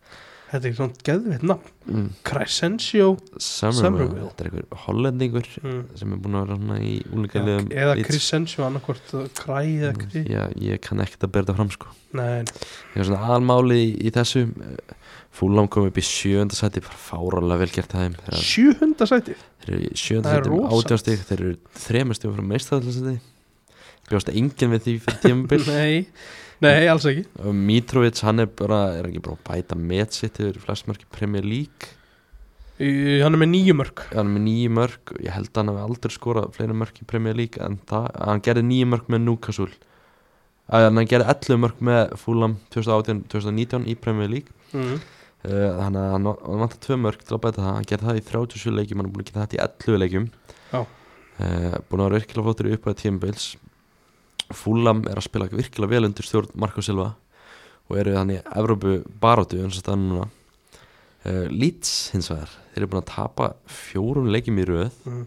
Þetta er ekki svona geðveitt nafn mm. Crescencio Somerville. Summerville, þetta er einhver hollendingur mm. sem er búin að vera svona í Já, úlíka liðum Eða Leeds. Crescencio annarkvort uh, Cræ eða Cri Já, Mm, ég kann ekkert að bera þetta fram sko Nei, Ég var svona aðalmáli í, í þessu Fúlam kom upp í sjönda sæti bara fáralega vel gert að þeim þegar 700 sæti Þeir eru í sjönda Það er sæti um rosalegt. átján stík Þeir eru þremur stík frá meistafallasæti Bjóst enginn við því fyrir tímabil <laughs> Nei, nei, alls ekki Og Mitrovic, hann er bara er ekki bara að bæta met sitt yfir flestmörk í Premier League Í- Hann er með nýju mörg hann er með nýju mörk ég held að hann hafi aldrei skorað fleiri mörk í Premier League en það, hann gerði nýju mörk með Newcastle að hann gerði 11 mörk með Fulham 2018-2019 í Premier League mm. Eh, þannig að hann hann vantar tvö mörk til að bæta það hann gerði það í 37 leikjum, hann er búin að geta þetta í 11 leikjum Já. Eh, búin að vera virkilega flottur í upphæða tímabils Fulham er að spila virkilega vel undir stjórn Marko Silva og eru þannig Evrópu barótu eins og það er núna uh, Leeds hins vegar þeir eru búin að tapa fjórum leikjum í röð Mm.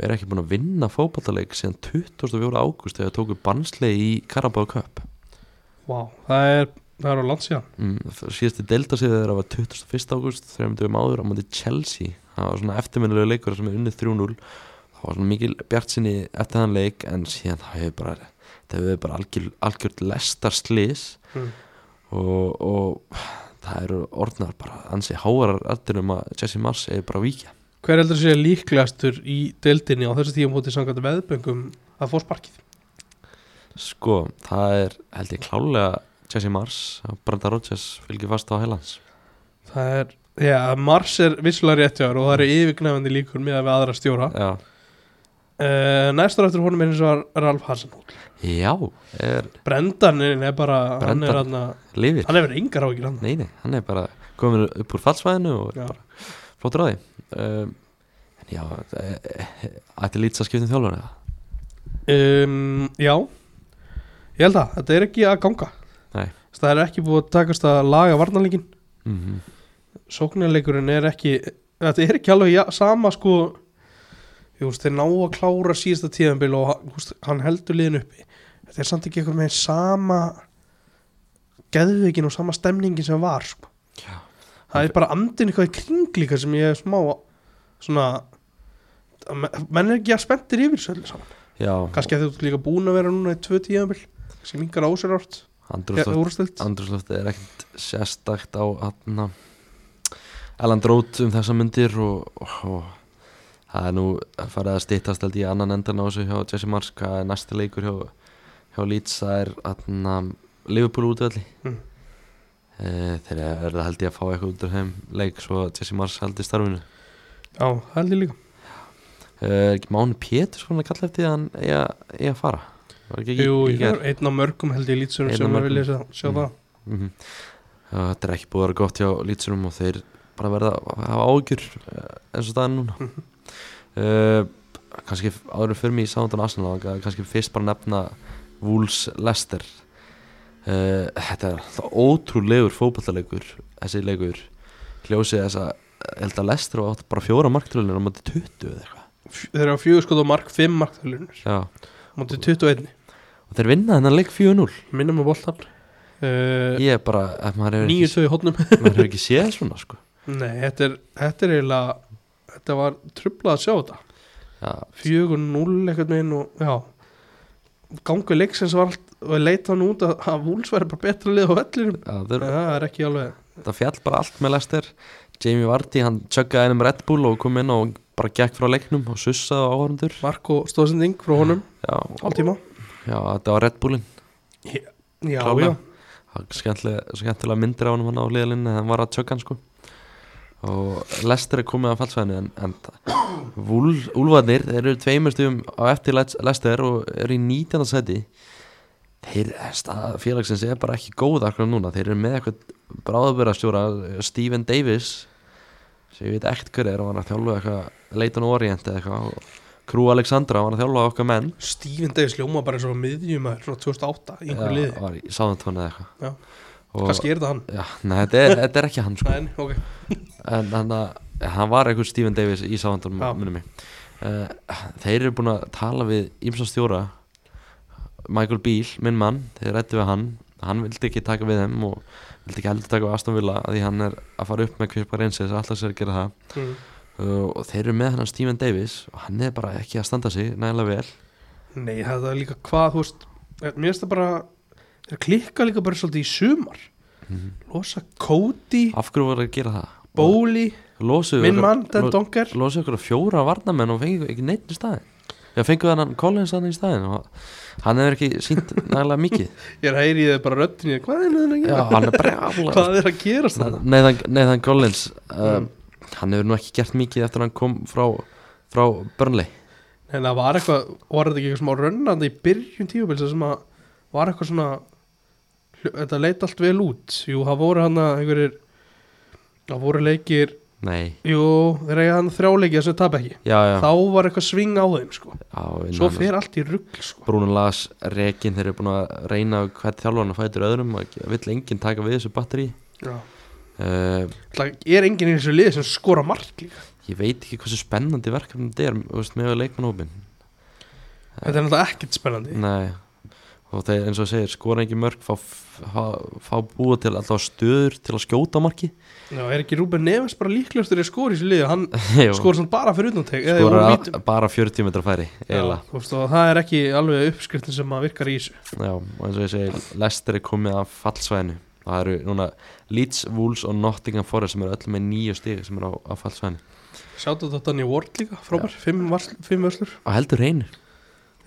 og eru ekki búin að vinna fótballaleik síðan 24. ágúst þegar tóku bannsleik í Carabao Cup Vá, það er, það er á landsíðan mm, síðasti delta sig þegar var 21. ágúst þrejum dögum áður á móti Chelsea það var svona eftirminnilega leikur sem er unnið 3-0 það var svona mikil bjart sinni eftir þann leik en síðan það hefur bara það hefur bara algjör, algjört lestar slis Mm. og, og það eru orðnar bara ansi háarar allir um að Jesse Mars er bara að víkja Hver heldur sé líklegastur í deildinni á þessu tíum hóti samkvæmt veðböngum að fá sparkið? sko, það er held ég klálega Jesse Mars að Brenda Rodgers fylgir fast á hælans Það er, já, Mars er vissulega réttjáður og það eru yfirgnefandi líkur með að við aðra stjóra já, uh, Næstur eftir honum er eins og Ralf Hassenhúl já er Brendanin er bara, hann er Brendan. hann lifir hann hefur engar áhyggjur hann Nei, nei, hann er bara komin upp úr fallsvæðinu og er Já. bara flottur á því um, En já, eh, eh, ætti lítið að skipta um þjálfari eða? um, Já, ég held að þetta er ekki að ganga Nei. Þess að Það er ekki búið að takast að laga varnarleikin Mhm. sóknarleikurinn er ekki þetta er ekki alveg ja, sama sko þú veist, þeir ná að klára síðasta tíðanbíl og þú veist, hann heldur liðin uppi þetta er samt ekki eitthvað með sama geðvikin og sama stemningin sem var sko. Já. það er bara andin eitthvað í kring líka sem ég er smá svona að menn er ekki að spenntir yfir þessu öllu saman Já, kannski að þú ert líka búin að vera núna í tvö tíðanbíl sem yngar ásir árt andrúrslöft Andrúrslöft er ekkert sérstakt á hann Alan Drót um þessa myndir og, og, og það er nú að fara að stýttast held ég í annan endan á þessu hjá Jesse Mars hvað er næsti leikur hjá, hjá Leeds það er hann Liverpool útvelli Mm. Eh, Þeir eru það held ég að fá eitthvað út úr þeim leik svo að Jesse Mars haldi starfinu Eh, já, það held ég líka Er ekki Máni Pétur svona að kalla eftir því að hann eigi að- eigi að fara Var ekki ekki Jú, í ég gær? er einn af mörgum held ég lýtsurum Einn sem af að mörgum. vilja sjá, sjá Mm. það Mhm. Já, Þetta er ekki búið að vera gott hjá lýtsurum og þeir bara verða að hafa ágjur eins og það er núna uh, Kannski áðurum fyrir mig í Soundan Arsenal langaði kannski fyrst bara að nefna Wolves Leicester uh, Þetta er alltaf ótrúlegur fótballalegur þessi leikur hljósið þess að ég held að Leicester var bara fjóra marktröðlunir á móti 20 eða eitthvað þeir eru á fjögur skot og mark, fimm markþölunir Já. Mm. mútið 21, og þeir vinna þennan leik 4-0 minnum á boltan uh, ég er bara, ef maður hefur ekki, 9-2 í hotnum maður hefur ekki séð svona sko. <laughs> nei, þetta er, þetta er eiginlega þetta var trublað að sjá þetta já, 4-0 eitthvað minn og já gangu leiksins var allt og leita hann út að, að Wolves væri bara betra lið á vellinum já, þeir, en það er ekki alveg það fjall bara allt með Lester Jamie Vardy, hann tjöggaði einum Red Bull og kom inn og bara gekk frá leiknum og sussaði á áhörundur Marko stóðsending frá honum, já, og- hálftíma já, þetta var Red Bullin já, já, Klárlega. það var skemmtilega, skemmtilega myndir á hann á liðalinni hann var að tjögga hann sko og Lester er komið að fallsvæðinu en, en <coughs> Vúl, Úlfarnir þeir eru tveimur stugum á eftir Lester og eru í 19. seti þeir, eh, staða félagsins er bara ekki góð akkur núna, þeir eru með eitthvað bráðabörastjóra, Stephen Davis sem ég veit ekkert hver er og hann er að þjálfa eitthvað Leighton Orient eða eitthvað og Krú Alexandra, hann er að þjálfa okkar menn Steven Davis ljóma bara svo miðjumæður svona 2008 í einhverju Já, liði, var í sáðantónu eða eitthvað Já. Og- kannski er þetta hann Já, nei, þetta er, þetta er ekki hann <laughs> sko. Nei, nei, ok en hann, hann var eitthvað Stephen Davis í sáðandónum Já. Eh, munum mig uh, þeir eru búin að tala við ímsa stjóra Michael Beal, minn mann, þeir rættu við hann hann vildi ekki taka við þeim og vildi ekki heldur taka við Aston Villa af því hann er að fara upp með Kvipar Einsis alltaf sér að gera það mm. uh, og þeir eru með hennan Steven Davis og hann er bara ekki að standa sig nægilega vel Nei, það er líka hvað, þú veist eh, Mér finnst það bara Þeir klikka líka bara svolítið í sumar Mhm. Losa Cody, af hverju voru að gera það? Bóli Losuðu Minn ykkur- mann, Den lo- Donker losuðu ykkur að fjóra varnamenn og fengið ekki neitt í staðin Já, fenguðu hann Collins hann í staðin og hann hefur ekki <laughs> sínt nægilega mikið Ég er heyri í þeir bara röddinni Hvað er það að Já, gera? hann er brjála <laughs> Hvað er að gera það? Nathan, Nathan Collins uh, Mm. hann hefur nú ekki gert mikið eftir að hann kom frá, frá Burnley En það var eitthvað, var þetta ekki eitthvað smá rönnandi í byrjun tíubilsa sem að var eitthvað svona, hlu- þetta leit allt vel út. Jú, það voru hann að einhverjir, það voru leikir, Nei, jú, þeir eiga hann þrjáleikið sem tap ekki. já, já, Þá var eitthvað sving á þeim, sko. já en Svo hann- fer allt í rugl, sko. Bruno Lars, Rekin, þeir eru búin að reyna hvert þjálfarn að fætur öðrum að vill enginn taka við þessu batteri Já. uh, Það er enginn í þessu liði sem skora mark líka. ég veit ekki hversu spennandi verkefni þetta er þú veist, með leikmannhópin Þetta er náttúrulega ekkert spennandi. Nei, og þeir eins og þú segir skora ekki mörg, fá, fá, fá búa til alltaf stöður til að skjóta á <laughs> marki Já, er ekki Rúben Neves bara líklegastur í að skora í þessu liði? Hann Jú, skora svona bara fyrir utantek. eða í skora óvítum. bara 40 metra færi eiginlega, Já, þú veist, og það er ekki alveg uppskriftin sem að virkar í þessu. já. og eins og ég segir Lester er komið af fallsvæðinu það eru núna Leeds, Wolves og Nottingham Forest sem eru öll með nýju stig sem eru á, á fallsvæðinu Sjáttu þetta Danny Ward líka, frábær, fimm, varsl, fimm vörslur og heldur reynir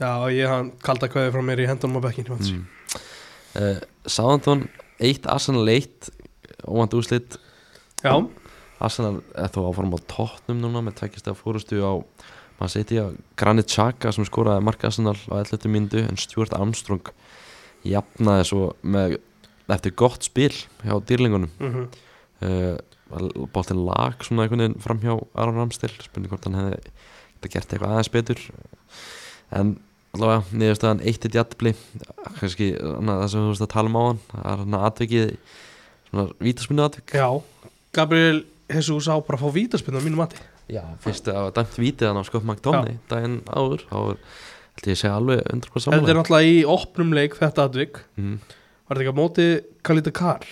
Já, ég hann kalda kveði frá mér í hendunum á bekkinu mm. mm. uh, Southampton 1, Arsenal 1 óvænt úslit Já, Arsenal er þó áfram á tóttnum núna með tvekkist að fórustu á mann seti á Granit Xhaka sem skoraði mark Arsenal á 11. myndu en Stuart Armstrong jafnaði svo með eftir gott spil hjá dýrlingunum mm uh, boltinn lag svona einhvern veginn fram hjá Aron Ramstil spurning hvort hann hefði geta gert eitthvað aðeins betur en allavega niðurstaðan eitt eitt jættbli kannski annað, það sem þú veist að tala um á hann það er hann atvikið svona vítaspinnu atvik já Gabriel Jesus á bara að fá vítaspinn á mínu mati já, fyrstu að dæmt vítið hann á Scott McDonney daginn áður þá er- held ég að segja alveg 100% Þetta er samanlega náttúrulega í opnum leik þetta atvik mm. Var þetta ekki á móti Kalita Kar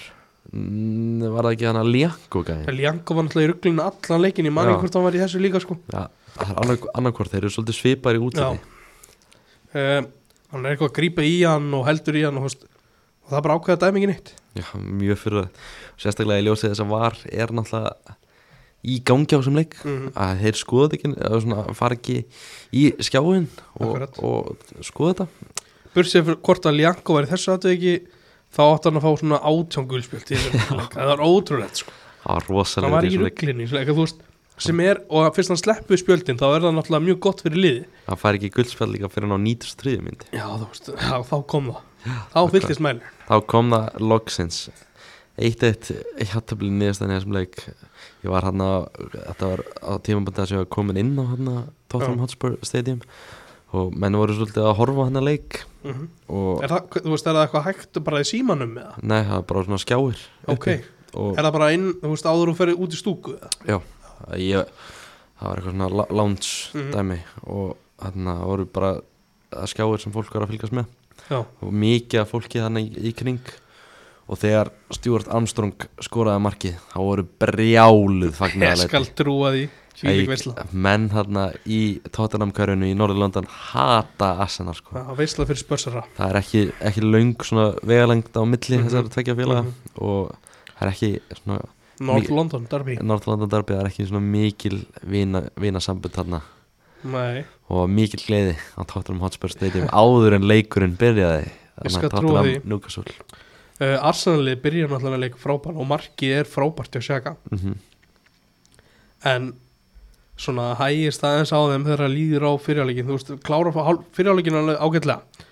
Mm, var það ekki hann að Lianko gæði Janko var náttúrulega í ruglinu allan leikin Ég manni Já. hvort hann var í þessu líka sko það er annarkvort, þeir eru svolítið svipar í útliti um, Hann er eitthvað að grípa í hann og heldur í hann og, þú veist, og það er bara ákveða dæmi ekki neitt Já, mjög fyrir að sérstaklega í ljósið þess að var er náttúrulega í gangi á þessum leik Mhm. að þeir skoða ekki, eða svona fara ekki í skjáin og, Akkurat. og skoða þetta Bursið fyrir hvort að Janko var í þessu atviki Þá átti hann að fá svona átjángulspjöld Það var ótrúlegt sko það var hann rosalega var í ruglinni svona, eitthvað, þú veist, sem er, og fyrst hann sleppu spjöldin þá er það náttúrulega mjög gott fyrir liði það fær ekki guldspjall líka fyrir hann á 93 myndi já, þú veist, já, þá kom það þá fyllist mæl þá kom það loksins eitt eitt, ég hatt að bli niðurstæðin í þessum leik ég var hann að þetta var á tímabandi sem ég var komin inn á hann að Tottenham Já. Hotspur Stadium og menn voru svolítið að horfa á hann að leik og Mhm. er það, hva- þú veist, er það eitthvað hægt bara í símanum með það, Nei, það er bara svona skjáir ok, uppi. Og er það bara inn þú veist, áður og ferði út í stúku eða? ég, það var eitthvað svona la- lounge Mhm. dæmi Og þarna voru bara það skjáir sem fólk var að fylgjast með já, Og mikið af fólki þannig í, í kring Og þegar Stuart Armstrong skoraði markið Þá voru brjáluð ég <laughs> fagnaðarlæti. skal trúa því Æ, kvílik veisla, Menn þarna í Tottenham-körinu í Norðurlöndan hata Arsenal sko já, veisla fyrir spörsara það er ekki, ekki löng svona vegalengd á milli Mhm. þessara tvekja félaga og það er ekki svona North Mikið- London, Derby Norðurlandan derby það er ekki svona mikil vina, vinasambund þarna nei, og mikil gleði á Tottenham Hotspur <laughs> Stadium áður en leikurinn byrjaði Ég Þannig að skal trúa Tottenham því. Newcastle uh, Arsenalið byrjar náttúrulega að leika frábært og markið er frábært hjá Sjaka mm -hmm. en svona hægist aðeins á þeim þegar það líður á fyrirjáleikin þú veist, klára fyrirjáleikin alveg ágætlega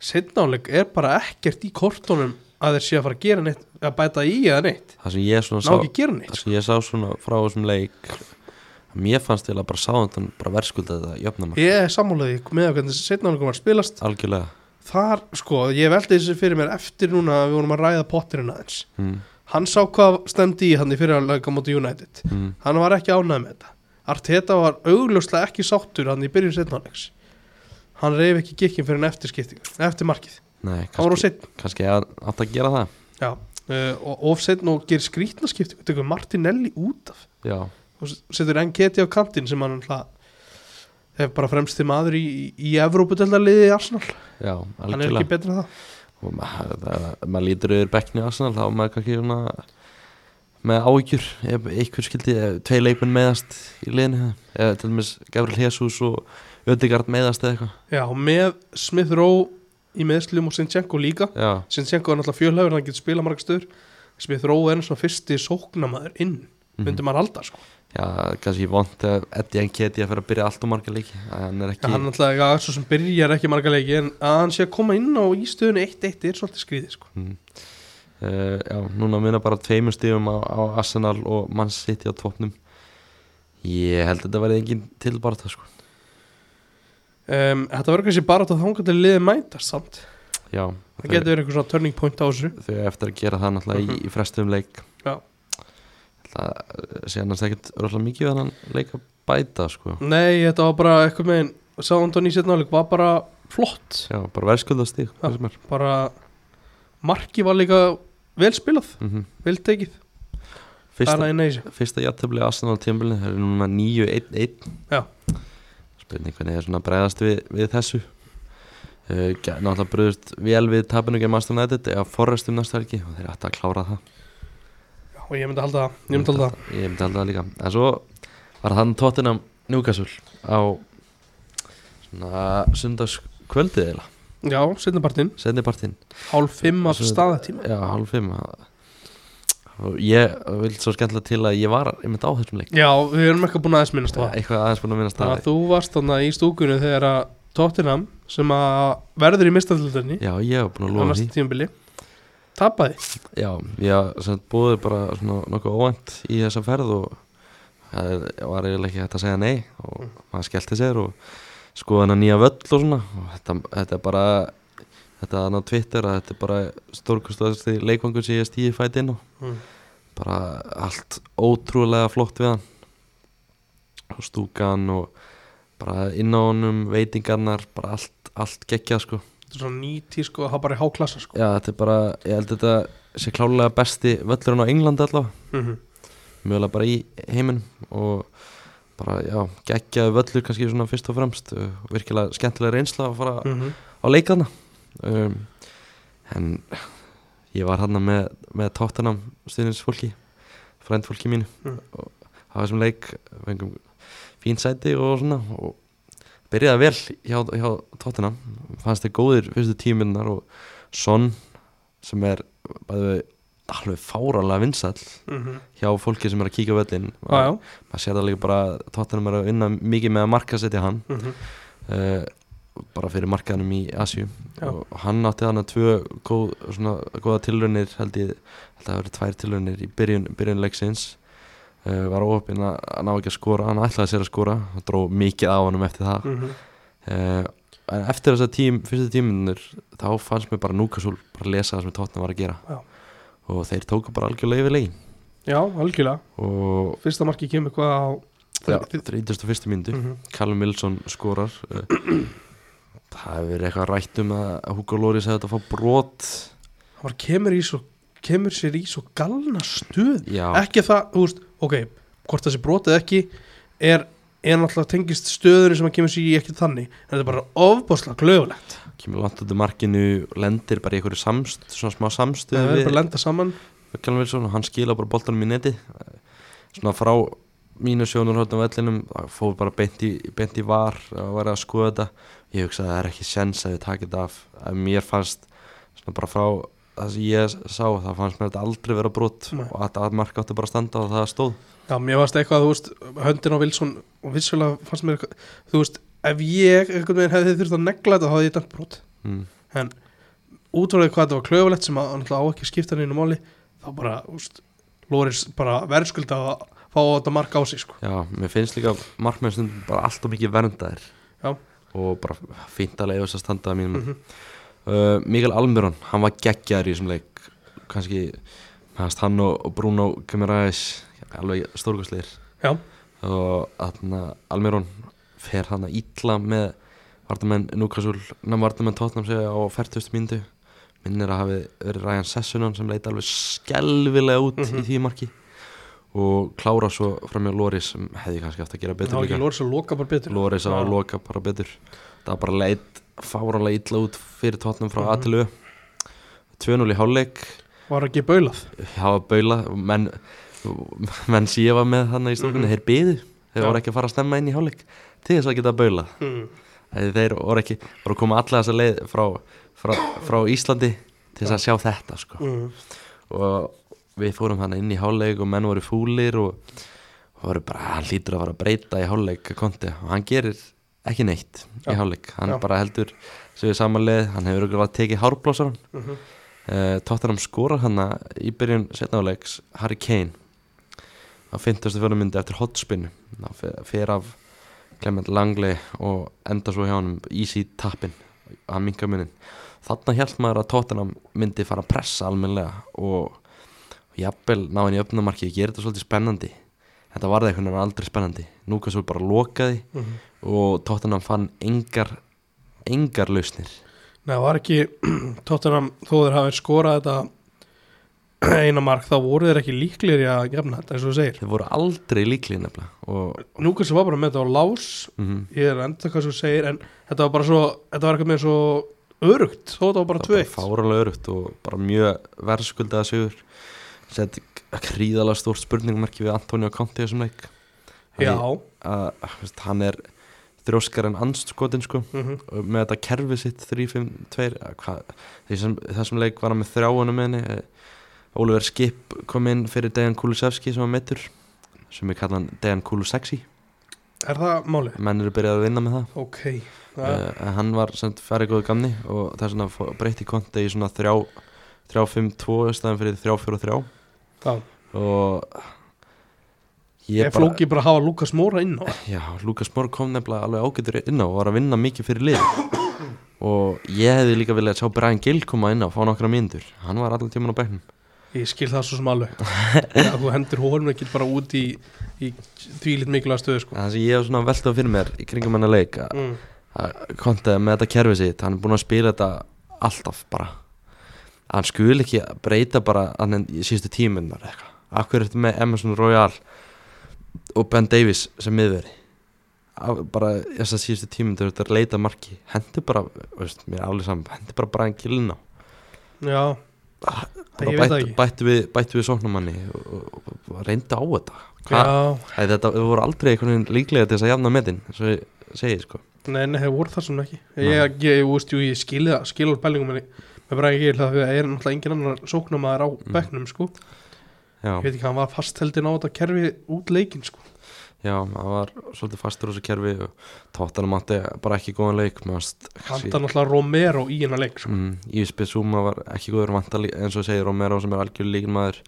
setnáleik er bara ekkert í kortunum að þeir sé að fara að gera neitt að bæta í eða neitt, það sem ég svona ná sá ekki að gera neitt það sko. sem ég sá svona frá þessum leik mér fannst til að bara sáðan bara verðskuldaði þetta jöfnum ég er sammálaði með að hvernig setnáleikum var að spilast algjörlega þar, sko, ég veldi þessu fyrir mér eftir núna að við vorum að ræða pottirinn aðeins mm, hann sá hvað stemdi í hann í fyrirjáleika móti United mm, hann var ekki ánægð með þetta Arteta var augljóslega ekki sáttur hann í byrjun setnáleiks hann reyf ekki gikkin fyrir en eftir skiptingu eftir markið, Nei, hann kannski, var of seinn kannski að- átt að gera það já, uh, og of seinn og gerir skrítna skiptingu tekur Martinelli út af Já, og s- setur NGT á kantinn sem hann hlað hef bara fremsti maður í, í Evrópudeldaliði í Arsenal, já, hann er ekki algjörlega betur en það og maður ma ma lítur yfir bekkni á Arsenal þá er maður kannski svona með áhyggjur ef einhver skildi, ef tvei leikmenn meðast í liðinu, eða til dæmis Gabriel Jesus og Ödegard meðast eða eitthvað já, með Smith Rowe í meðslum og Sinchenko líka Já, Sinchenko er náttúrulega fjölhæfur, hann getur spilað marga stöður Smith Rowe er eins og fyrsti sóknamaður inn, Mhm. myndi maður halda sko. já, kannski vond að Eddie Nketi að fyrir að byrja allt og marga leiki að hann er Já, ekki, hann alltaf, já, svo sem byrjar ekki marga leiki en að hann sé að koma inn á í stöðunni 1-1 er svolítið skrýði sko. uh, Mhm. já, núna minna bara tveimur stífum á, á Arsenal og mann sitt á topnum Ég held að þetta verði engin tilbarta sko um, Þetta verður kannski bara að þanga til liðið mætast samt Já, Það getur verið einhver svona turning point á þessu þau eiga eftir að gera það náttúrulega í, í frestum leik Já. Það sé annars ekkert rosalega mikið við hann leik að bæta sko Nei, þetta var bara eitthvað megin Sáðan í setna áleik var bara flott Já, bara verðskulda stík Já. hvað sem er bara marki var líka vel spilað, Mhm. vel tekið Það er Fyrsta, að eina í þessu fyrsta játtöfli Arsenal tímbilin, það er núna 9-1-1 Já. Spurning hvernig er svona bregðast við, við þessu Uh, gæ- náttúrulega bröðust vel við tapinu gegn Master United eða forrestum næsta helgi og þeir ætti að klára það Já, og ég myndi halda það, ég myndi halda það Ég myndi halda það líka En svo var hann tóttinam Newcastle á svona sundagskvöldið eða Já, setnapartinn, setnipartinn hálf fimm af Svo- staðatíma Já, hálf fimm og ég vildi svo skemmtilega til að ég var einmitt á þessum leik Já, við erum eitthvað búin aðeins minnast á það eitthvað aðeins búin að minnast Þannig það að þú varst þannig í stúkunni þegar að Tottenham sem að verður í mistaldildinni Já, ég var búin á að lofa næsta því tímabili tapaði Já, ég sem búið bara svona nokkuð óvænt í þessa ferð og það er- var eiginlega ekki hægt að segja nei og maður skellti sér og skoði hennar nýja völl og svona og þetta, þetta er bara þetta er hann á Twitter að þetta er bara stórkustasti leikvangur sem ég stíði fætt inn á Mm. bara allt ótrúlega flott við hann og stúkan og bara inn á honum, veitingarnar bara allt, allt geggjað sko þetta er svona nýti sko það bara í háklassa sko Já, þetta er bara, ég held þetta sé klálega besti völlurinn á England allavega mm -hmm. mjögulega bara í heiminum og bara, já, geggjaði völlur kannski svona fyrst og fremst uh, virkilega skemmtilega reynsla að fara Mm. Mhm. á leikana um, en ég var hann með, með tóttanam stuðningsfólki frændfólki mínu Mm. og hafa þessum leik fengum fín sæti og svona og byrjaði vel hjá, hjá tóttanam fannst þið góðir fyrstu tíminnar og Son sem er bæði alveg fáralega vinsall hjá fólki sem er að kíka á völlin Mhm. Já, já, maður sér það líka bara að Tottenham er að vinna mikið með að markasetja hann mhm. uh, bara fyrir markaðanum í Asju Já. og hann átti þannig að tvö góð, svona, góða tilraunir held ég, held að það verið tvær tilraunir í byrjun, byrjun leiksins uh, var óöpinn að, að ná ekki að skora hann ætlaði sér að skora, hann dró mikið á honum eftir það Mhm. uh, en eftir þess að tím, fyrstu tíminur þá fannst mér bara Núkasúl bara lesa það sem Tottenham var að gera Já. og þeir tóku bara algjörlega yfir legin já, algjörlega og fyrsta marki kemur hvað á Já, 31. myndu Mhm. Mm. Callum Wilson skorar eh, Það hefur verið eitthvað rætt um að að Hugo Lloris hefði þetta að fá brot hann var kemur í svo kemur sér í svo galna stöð Já, ekki það, þú veist, ok hvort það sé brotið ekki er er náttúrulega tengist stöðunni sem hann kemur sér í ekki þannig, en þetta er bara ofbáslega glögulegt kemur langt út í markinu lendir bara í einhverju samst, svona smá samstuð það er bara að við lenda saman við Callum Wilson og hann skila bara boltanum í neti Eh, svona frá mínu sjónur hóttum vellinum, það fóðu bara beint í, beint í var að vera að skoða þetta ég hugsaði að það er ekki sens að við taka þetta af að mér fannst svona bara frá það sem ég sá, það fannst mér þetta aldrei vera brot Nei. og að þetta marka átti bara að standa og það stóð Já, mér varst eitthvað, þú veist, höndin á Wilson og vissulega fannst mér eitthvað, þú veist, ef ég einhvern veginn hefði þurft að negla þetta þá hefði ég dæmt brot. mm. Útvarðið hvað þetta var klöfulegt sem að náttúrulega á ekki að skipta neina máli, þá bara, þú veist, Loris bara verðskulda að fá þetta mark á sig, sko. Já, mér finnst líka markmenn stundum bara allt og mikið verndaðir Já. og bara fínt að leiða þess að standa að mínum mm Mhm. Mikael Almiron, hann var geggjaður í þessum leik kannski hans, hann og, og Bruno Guimaraes alveg stórkostleir Já, og þarna Almiron fer hann að ítla með Vardamenn Núkasúl, nefn Vardamenn Tottenham segja á 40. myndu minnir að hafi verið Ryan Sessunan sem leita alveg skelvilega út í Mhm. því marki og klára svo framjá Loris sem hefði kannski haft að gera Þá betur ekki líka Lóris að loka bara betur Loris á Já. að loka bara betur það var bara leit, fáranlega illa út fyrir Tottenham frá mm Mhm. -hmm. Atilu 2-0 í hálfleik Var ekki baulað hafa baula menn, menn síða var með þannig í stofnunni, Mhm. þeir byðu þeir Já. voru ekki að fara að stemma inn í hálfleik til þess að geta baula mm. Þegar þeir voru ekki, voru að koma alla þessa leið frá, frá, frá Íslandi til þess að sjá þetta sko. Mm. og við fórum hann inn í hálfleik og menn voru fúlir og, og voru bara, hann lítur að fara að breyta í hálfleik að konti og hann gerir ekki neitt Já. í hálfleik, hann Já. bara heldur sem við saman leið, hann hefur okkur að tekið hárblásar Mm uh, Tottenham skorar hann í byrjun setna áleiks Harry Kane á 54 myndi eftir hotspinnu Ná fer- fer af Clement Langley og enda svo hjá hann easy tappin að minka munin þarna hjælt maður að Tottenham myndi fara að pressa almennilega og jafnvel ná henni í öfnumarki ég gerir þetta svolítið spennandi þetta varði einhvern veginn aldrei spennandi núka svo bara lokaði -hmm. og Tottenham fann engar engar lausnir Nei, það var ekki <clears throat> Tottenham, þó þeir hafi skorað þetta <clears throat> eina mark, þá voru þeir ekki líklegri að gefna þetta, eins og þú segir þeir voru aldrei líklið nefnilega og Núkvæmst var bara með þetta á lás mhm. ég er enda hvað þú segir, en þetta var bara svo þetta var eitthvað með svo örugt þó þetta var bara það var tveitt bara fáralega örugt og bara mjög verðskuldaða sigur sett kríðalega stórt spurningmerki við Antonio Conte í þessum leik Já, Hann- að, þú veist, hann er þrjóskar en andskotin sko mm og með þetta kerfi sitt 3-5-2 eða hvað, þessum, þessum leik var hann með þrjáunum minni Oliver Skip kom inn fyrir Dejan Kulusevski sem var meittur sem við kallan Dejan Kulusexi er það máli? menn eru byrjað að vinna með það Ok það, uh, en hann var sem færi góðu gamni og það er svona fó- breytti konti í svona 3-5-2 staðan fyrir 3-4-3 það. og Ég ég er flóki bara að hafa Lukas Móra inn á já, Lukas Mór kom nefnilega alveg ágætur inn á og var að vinna mikið fyrir lið og ég hefði líka viljað sjá Brian Gill koma inn á og fá nokkra mínútur hann var allan tíman á bekknum Ég skil það svo sem <laughs> alveg Já, Þú hendur honum ekki bara út í, í því lit mikilvæg stöðu sko. en það sem ég hef svona veltað fyrir mér í kringum hennar leik að mm. Kontið með þetta kerfi sitt hann er búin að spila þetta alltaf bara hann skul ekki að breyta bara hann en í síðustu tímunar eitthvað Akkur eftir með Emerson Royal og Ben Davies sem miðveri Af- bara þess að síðustu tímunar þetta er að leita marki hendur bara, veist, mér er alveg saman hendur bara bara en kilin á Já Bara Ég veit það bættu, ekki bættu við, bættu við sóknumanni og, og, og, og reyndu á þetta Hvað? Já, Æ, þetta þau voru aldrei einhvern veginn líklega til þess að jafna metin eins og ég segi sko Nei, nei, það voru það svona ekki Ég, ég, ég, úst, jú, ég skilði það, skilur pælingum minni með bara ekki það því að er náttúrulega engin annar sóknamaður á Mm. bekknum sko Já. Ég veit ekki, hann var fastheldi á þetta kerfi út leikinn sko Já, hann var svolítið fastur á þessu kerfi og tóttanum átti bara ekki góðan leik mannst, Handa náttúrulega Romero í hennar leik sko. mm, Ísbjörn Súma var ekki góður vantar eins og segir Romero sem er algjör líkinmaður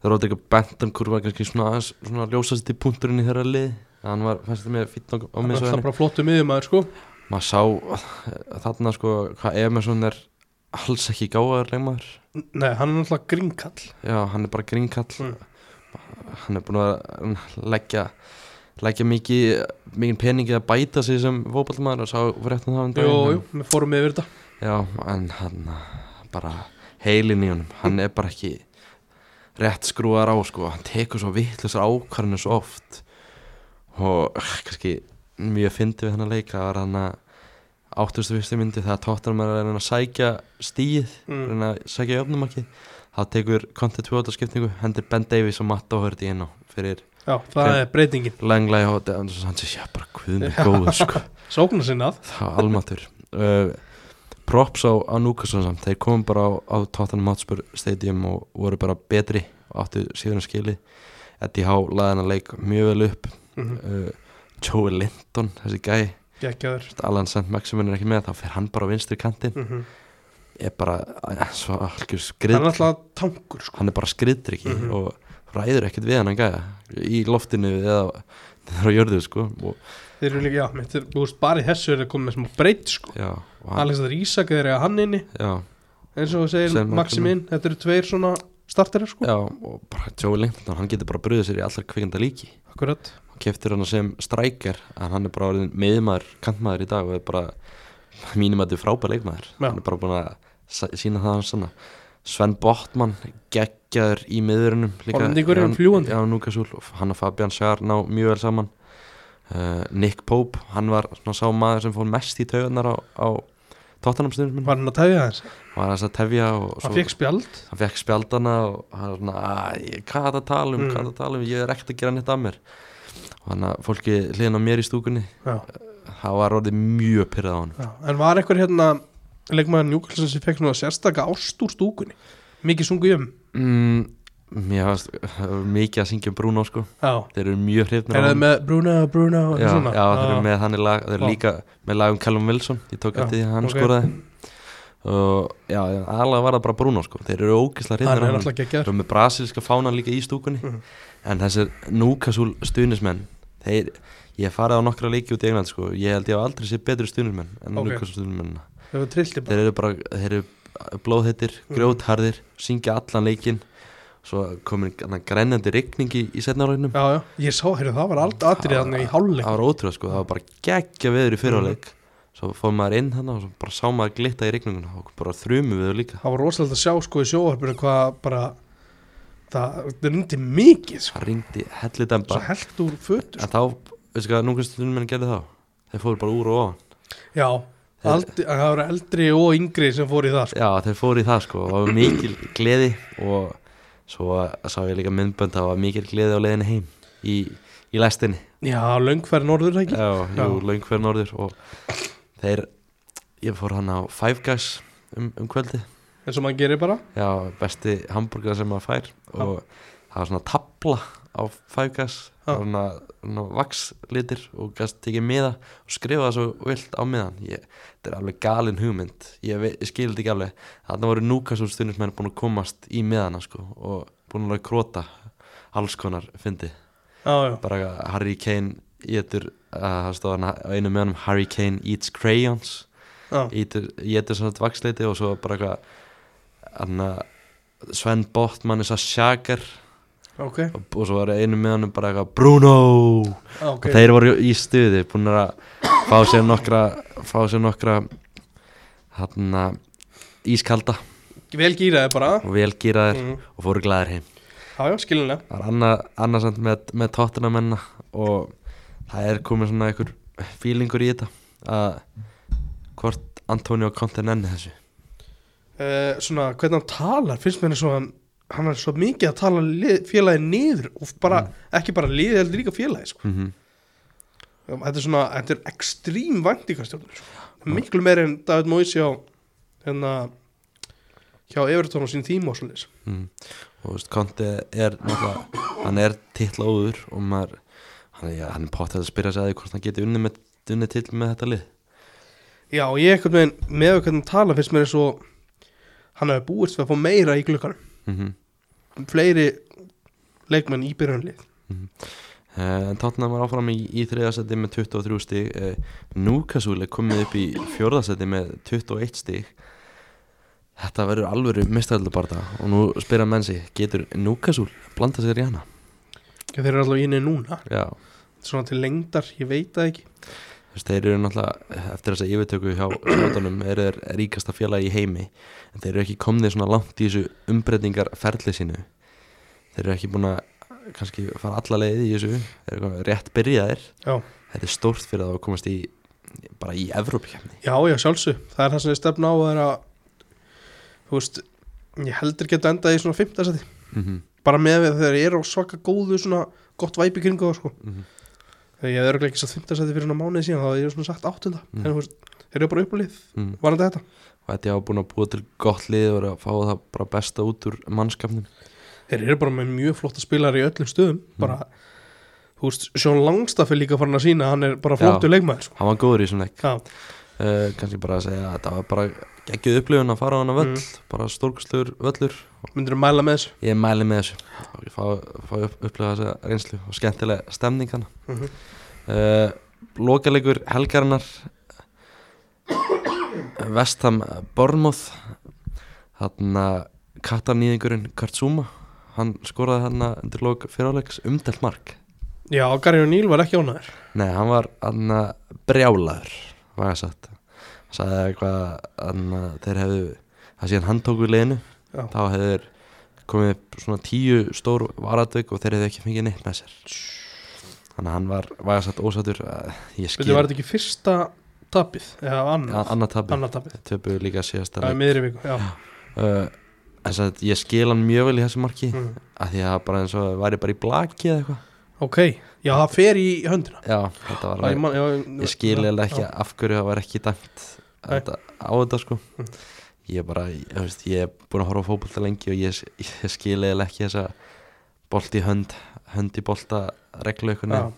það róti ekki Benton kurva kannski svona, aðeins- svona ljósast í punkturinn í þeirra lið hann var fannst þetta með fýtt á Hann er mig svo alltaf henni bara flottu miðjumæður sko maður sá eh, þarna sko hvað Emerson er alls ekki gáðar leikmaður Nei, hann er náttúrulega gringkall já, hann er bara grínkall Mm. hann er búin að leggja leggja mikið mikið peningi að bæta sig sem fótballmaður og sá fréttum það um Jú, daginn jú, við fórum yfir þetta Já, en hann bara heilin í honum, hann er bara ekki rétt skrúðar á sko, hann tekur svo vittlisar ákvarðinu svo oft og ugh, kannski mjög fyndi við hennar leika var hann að 81. myndi þegar tóttanum er að reyna að sækja stíð, mm. reyna að sækja jöfnumarki þá tekur Conte 28 skipningu hendur Ben Davies og Matt og hörði inn á fyrir Já, það Hver- er breytingin langlega og hann sé, já bara <laughs> guðum Já. góður sko Sóknar sinnað Það var almatur uh, Props á, á Núkasson samt Þeir komum bara á, á Tottenham Hotspur Stadium og voru bara betri og áttu síðan skili Eddie Há laði hennar leik mjög vel upp mm. uh, Joey Linton, þessi gæ Gekkjaður Alan St. Maximin er ekki með þá fer hann bara á vinstri kantinn mm er bara eh, svo algjör Hann er skriðdrykki alltaf tankur sko hann er bara skriðdrykki Mhm. og ræður ekkert við hann gæja í loftinu eða þegar á jörðu sko og, Þeir eru líka, já, mitt er, þú veist, bara í þessu er það komið með smá breyt sko já, og hann, Alexander Ísak er að hann inni já, eins og þú segir Sem Maximin, þetta eru tveir svona starterar sko já, og bara Joey Linton hann getur bara bröðið sér í allar kvikenda líki Akkurat hann keftir hann sem strækjar en hann er bara orðin miðmaður, kantmaður í dag og er bara mínum að þetta er frábær leikmaður Já. hann er bara búin að sa- sína það hans sanna Sven Botman geggjaður í miðurinnum Hollendingurinn, fljúgandi. já, Núkasúl, hann og Fabian Sjar ná mjög vel saman uh, Nick Pope, hann var svona sá maður sem fór mest í taugarnar á, á tóttanamstundum Var hann að tæja þess? var þess að tefja og Hann fekk spjald hann fekk spjaldana og hann var svona, "Æ, ég- hvað er þetta að tala um, Mm. hvað er þetta að tala um, ég er ekkert að gera neitt af mér og hann að fólki hliðin á mér í stúkunni Já, það var orðið mjög pyrrað á hann já. En var einhver hérna leikmaður Newcastle sem fekk svona sérstaka ást úr stúkunni Mikið sungu um mm, mér varst mikið að syngja um Bruno sko Já, þeir eru mjög hrifnir á er það honum. með Bruno, Bruno og já, svona já, þeir eru með hann í lag þeir eru Já. líka með lag um Callum Wilson ég tók Já, eftir því að hann ok. skoraði og já, já, aðalega var það bara Bruno sko þeir eru ógislega Hann hrifnir á er hann alltaf geggjaður þeir eru með brasilska fánan líka í stúkunni Mhm. en þessir núkasúl stuðnismenn þeir, ég hef farið á nokkra leiki út í England sko ég held ég hef aldrei sé betri stuðnismenn en Ok. okay. núkasúl stuðnismennina Þeir eru trillti bara þeir eru bara þeir eru blóðhættir, Mhm. grjótharðir syngja allan leikinn svo komin þarna grennandi rigning í, í setnarleiknum Já, já, ég sá, heyrðu, það var allt atrið þannig í hálfleik það var ótrúð sko, það var bara geggja veður í Mhm. fyrraleg svo fór maður inn þannig og svo bara sá maður glitta í rigninguna og bara þrjumu við þau líka Það var rosalega að sjá sko í sjóvarpinu hvað bara það, það rindi mikið sko, það ringdi svo hellidemba held úr fötu sko. en þá, veistu hvað, nú hvernig stundum menn gerði þá þeir fóru bara úr og ofan Já, Þeir- aldri, það var eldri og yngri sem fór í það sko. já, þeir fóru í það sko, og það var mikil gleði og svo sá ég líka myndbönd það var mikil gleði á leiðinni heim í, í læstinni Já, löngferð norður ekki Já, jú, Já. löng hver norður og þeir, ég fór hann á Five Guys um, um kvöldi eins og maður gerir bara já, besti hambúrgar sem maður fær og það var svona tabla á Five Guys Já. það var svona, svona vakslitir og gæst tekið miða og skrifa það svo vilt á miðan ég, þetta er alveg galin hugmynd ég, ve- ég skil þetta ekki alveg þarna voru núkasúl stundismenn búin að komast í miðana sko, og búin að króta alls konar fyndi Já, já, bara að Harry Kane getur, það stóð hann á einu meðanum Harry Kane eats crayons já, getur, getur svona vaksleiti og svo bara eitthvað hann að Sven Botman er svo sjager ok, og, og svo var einu meðanum bara eitthvað Bruno ok og þeir voru í stuði búin að fá sér nokkra fá sér nokkra hann að ískalda Vel gýraði bara og velgýraðir mm. og fóru glæðir heim Já, já, skilinlega Það er annað, annað samt með, með tóttina menna og það er komið svona einhver fílingur í þetta að hvort Antonio Conte nenni þessu uh, Svona, hvernig hann talar, finnst mér eins og hann hann er svo mikið að tala lið, félagi niður og bara, ekki bara liðið heldur líka félagi sko. mm Um, Þetta er svona, þetta er ekstrím væntingastjórnir sko. Miklu meir en David Moyes hjá hérna hjá Everton og sín tíma og svolítið mm. og þú veist Conte er náttúrulega, hann er titlaóður og maður hann, er- ja, hann er pott að spyrja sig að því hvort hann geti unnið, með, unnið til með þetta lið Já, og ég eitthvað með, með hvernig hann tala finnst mér eins og hann hefur búist við að fá meira í glukkan mm -hmm. fleiri leikmenn í byrjunlið Eh, en tóttina var áfram í, í þriðasetti með 23 stig uh, Núkasúl er komið upp í fjórðasetti með 21 stig Þetta verður alvöru mistæðlubarta og nú spyrja menn sig, getur Núkasúl blanda sér í hana? þeir eru allavega inni núna Já, svona til lengdar, ég veit það ekki þú veist, þeir eru náttúrulega eftir þessa yfirtöku hjá skjótanum eru þeir ríkasta félagi í heimi en þeir eru ekki komnið svona langt í þessu umbreytingar ferli sínu þeir eru ekki búin að kannski fara alla leið í þessu, þeir eru komnir rétt byrjaðir Já. þetta er stórt fyrir þá að komast í bara í Evrópkefni Já, já, sjálfsög, það er það sem ég stefna á það er að, þú veist ég heldur geta endað í svona fimmtasæti mm -hmm. bara með við þegar ég er á svaka góðu svona gott væpi kringu það sko mm -hmm. þegar ég er ekki satt fimmtasæti fyrir svona mánuði síðan þá er ég svona sagt áttunda Mm. en þú veist, þeir eru bara uppalið Mm. varandi þetta og þetta er búin að búa til gott lið og eru að fá það bara besta út úr mannskapnum þeir eru bara með mjög flotta spilar í öllum stöðum Mm. bara, þú veist, Sjón Langstaff er líka farin að sína hann er bara Já. flottu leikmaður sko. hann var góður í þessum leik Já, uh, kannski bara að segja að þetta var bara geggjuð upplifun að fara á hana völl bara stórkustur völlur myndir mæla með þessu Ég mæli með þessu og ég fá, fá upp, upplega þessa reynslu og skemmtilega stemning hana mm uh, Lokalegur helgarinnar Vestham Bormoth þarna kattarnýðingurinn Kartsuma hann skoraði hann undir lok fyriráleiks umdelt mark Já, Gary O'Neill var ekki ánæður Nei, hann var hann brjálaður var ég sagt sagði eitthvað að þeir hefðu það síðan hann tók við liðinu Já. þá hefur komið upp svona tíu stór varatök og þeir hefðu ekki fengið neitt með sér þannig að hann var vægarsagt ósattur ég skil Þetta var þetta ekki fyrsta tapið eða ja, annað, annað tabbi annað tapið töpu líka síðast Það er miðri viku, já uh, þess að ég skil hann mjög vel í þessu marki mm. að því að bara eins og það væri bara í blaki eða eitthvað Ok, já það fer í höndina já, þetta var Það ég, man, já, ég skil eða ekki já. af hverju það var ekki dæmt að Nei. þetta, á þetta sko Mm. ég er bara, ég, veist, ég er búin að horfa á fótbolta lengi og ég, ég skil eða ekki þessa bolt í hönd hönd í bolta reglu eitthvað Já, ja.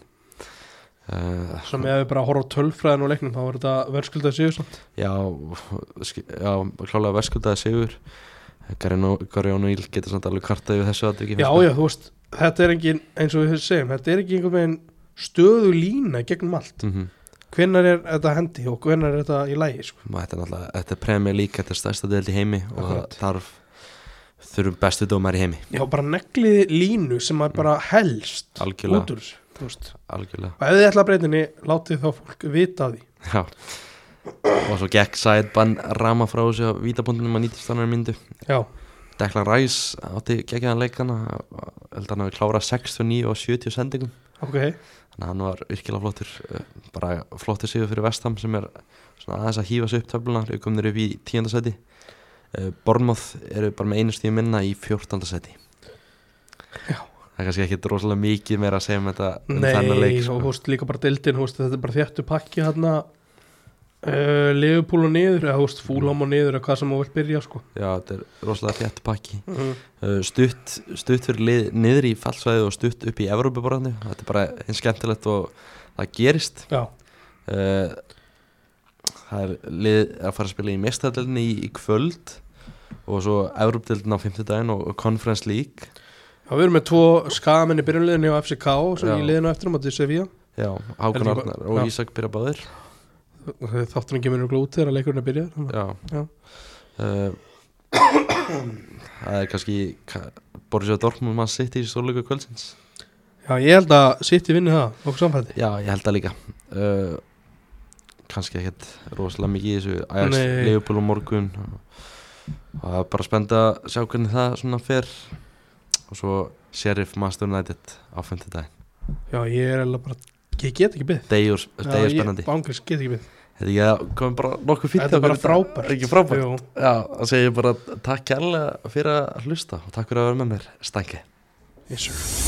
uh, Svo með að við bara horfa á tölfræðin og leiknum þá var þetta verðskuldað sigur samt já, sk- já klálega verskuldaði sigur Garjónu Íl getur samt alveg kvartaði við þessu atviki finnst Já, mér. já, þú veist, þetta er engin eins og við segjum, þetta er ekki einhvern veginn stöðu lína gegnum allt Mhm. Hvenær er þetta hendi og hvenær er þetta í lægi sko? Og Þetta er náttúrulega, þetta er premjör líka þetta er stærsta deild í heimi og Akkurat. það þarf þurfum bestu dómar í heimi Já, bara neglið línu sem er bara helst Mm. Algjörlega. út úr þessu, þú veist. algjörlega Og ef þið ætla að breytinni, látið þá fólk vita af því Já Og svo gekk Sædban rama frá þessu á vítabundunum að nýtist þannig myndu Já, Deklan Ræs átti geggjaðan leikana held að hann hafi klárað 69 og 70 sendingum ok þannig að hann var virkilega flottur eh, bara flottur sigur fyrir Vestham sem er svona aðeins að hýfa sig upp töfluna við komum þeir upp í 10. seti Bormoth eru bara með einu stíu minna í 14. seti Já. Það er kannski ekki rosalega mikið meira að segja um þetta um þennan Nei, leik og sko. þú veist líka bara deildin, þú veist, þetta er bara þjættu pakki hérna uh, Leifupúl og niður, eða þú veist, fúlam og niður eða hvað sem þú vilt byrja, sko Já, þetta er rosalega þétt pakki mm. Uh, stutt, stutt fyrir lið, niður í fallsvæði og stutt upp í Evrópuborðinu þetta er bara eins skemmtilegt og það gerist Já, uh, það er lið að fara að spila í mestadöldinni í, í kvöld og svo Evrópudöldin á 50 daginn og, og Conference League já, við erum með tvo skamenni byrjunliðinni á FCK sem Já. ég liðinu eftir á móti Sevilla já, Hákon Heldur bara- Arnar og já. Ísak byrja báðir Þátturinn kemur nú glútið þegar leikurinn er byrjað þannig að- já, Já. Uh, <coughs> það er kannski ka, Borussia Dortmund mann sitt í stórleiku kvöldsins Já, ég held að sitt í vinni það, okkur samfætti Já, ég held það líka uh, Kanski ekkert rosalega mikið í þessu Ajax, Nei. Leifupúl og morgun og það er bara spennt að sjá hvernig það svona fer og svo Sheriff Master United á 50 dag Já, ég er alveg bara, ég get ekki byrð Degur, degur Já, spennandi ég bánglis get ekki byrð Þetta ekki að komið bara nokkuð fínt Þetta er hjá bara okkur í dag. frábært Ekki frábært? Jú. Já, það segir bara takk kærlega fyrir að hlusta og takk fyrir að vera með mér, Stangi Yes, sir.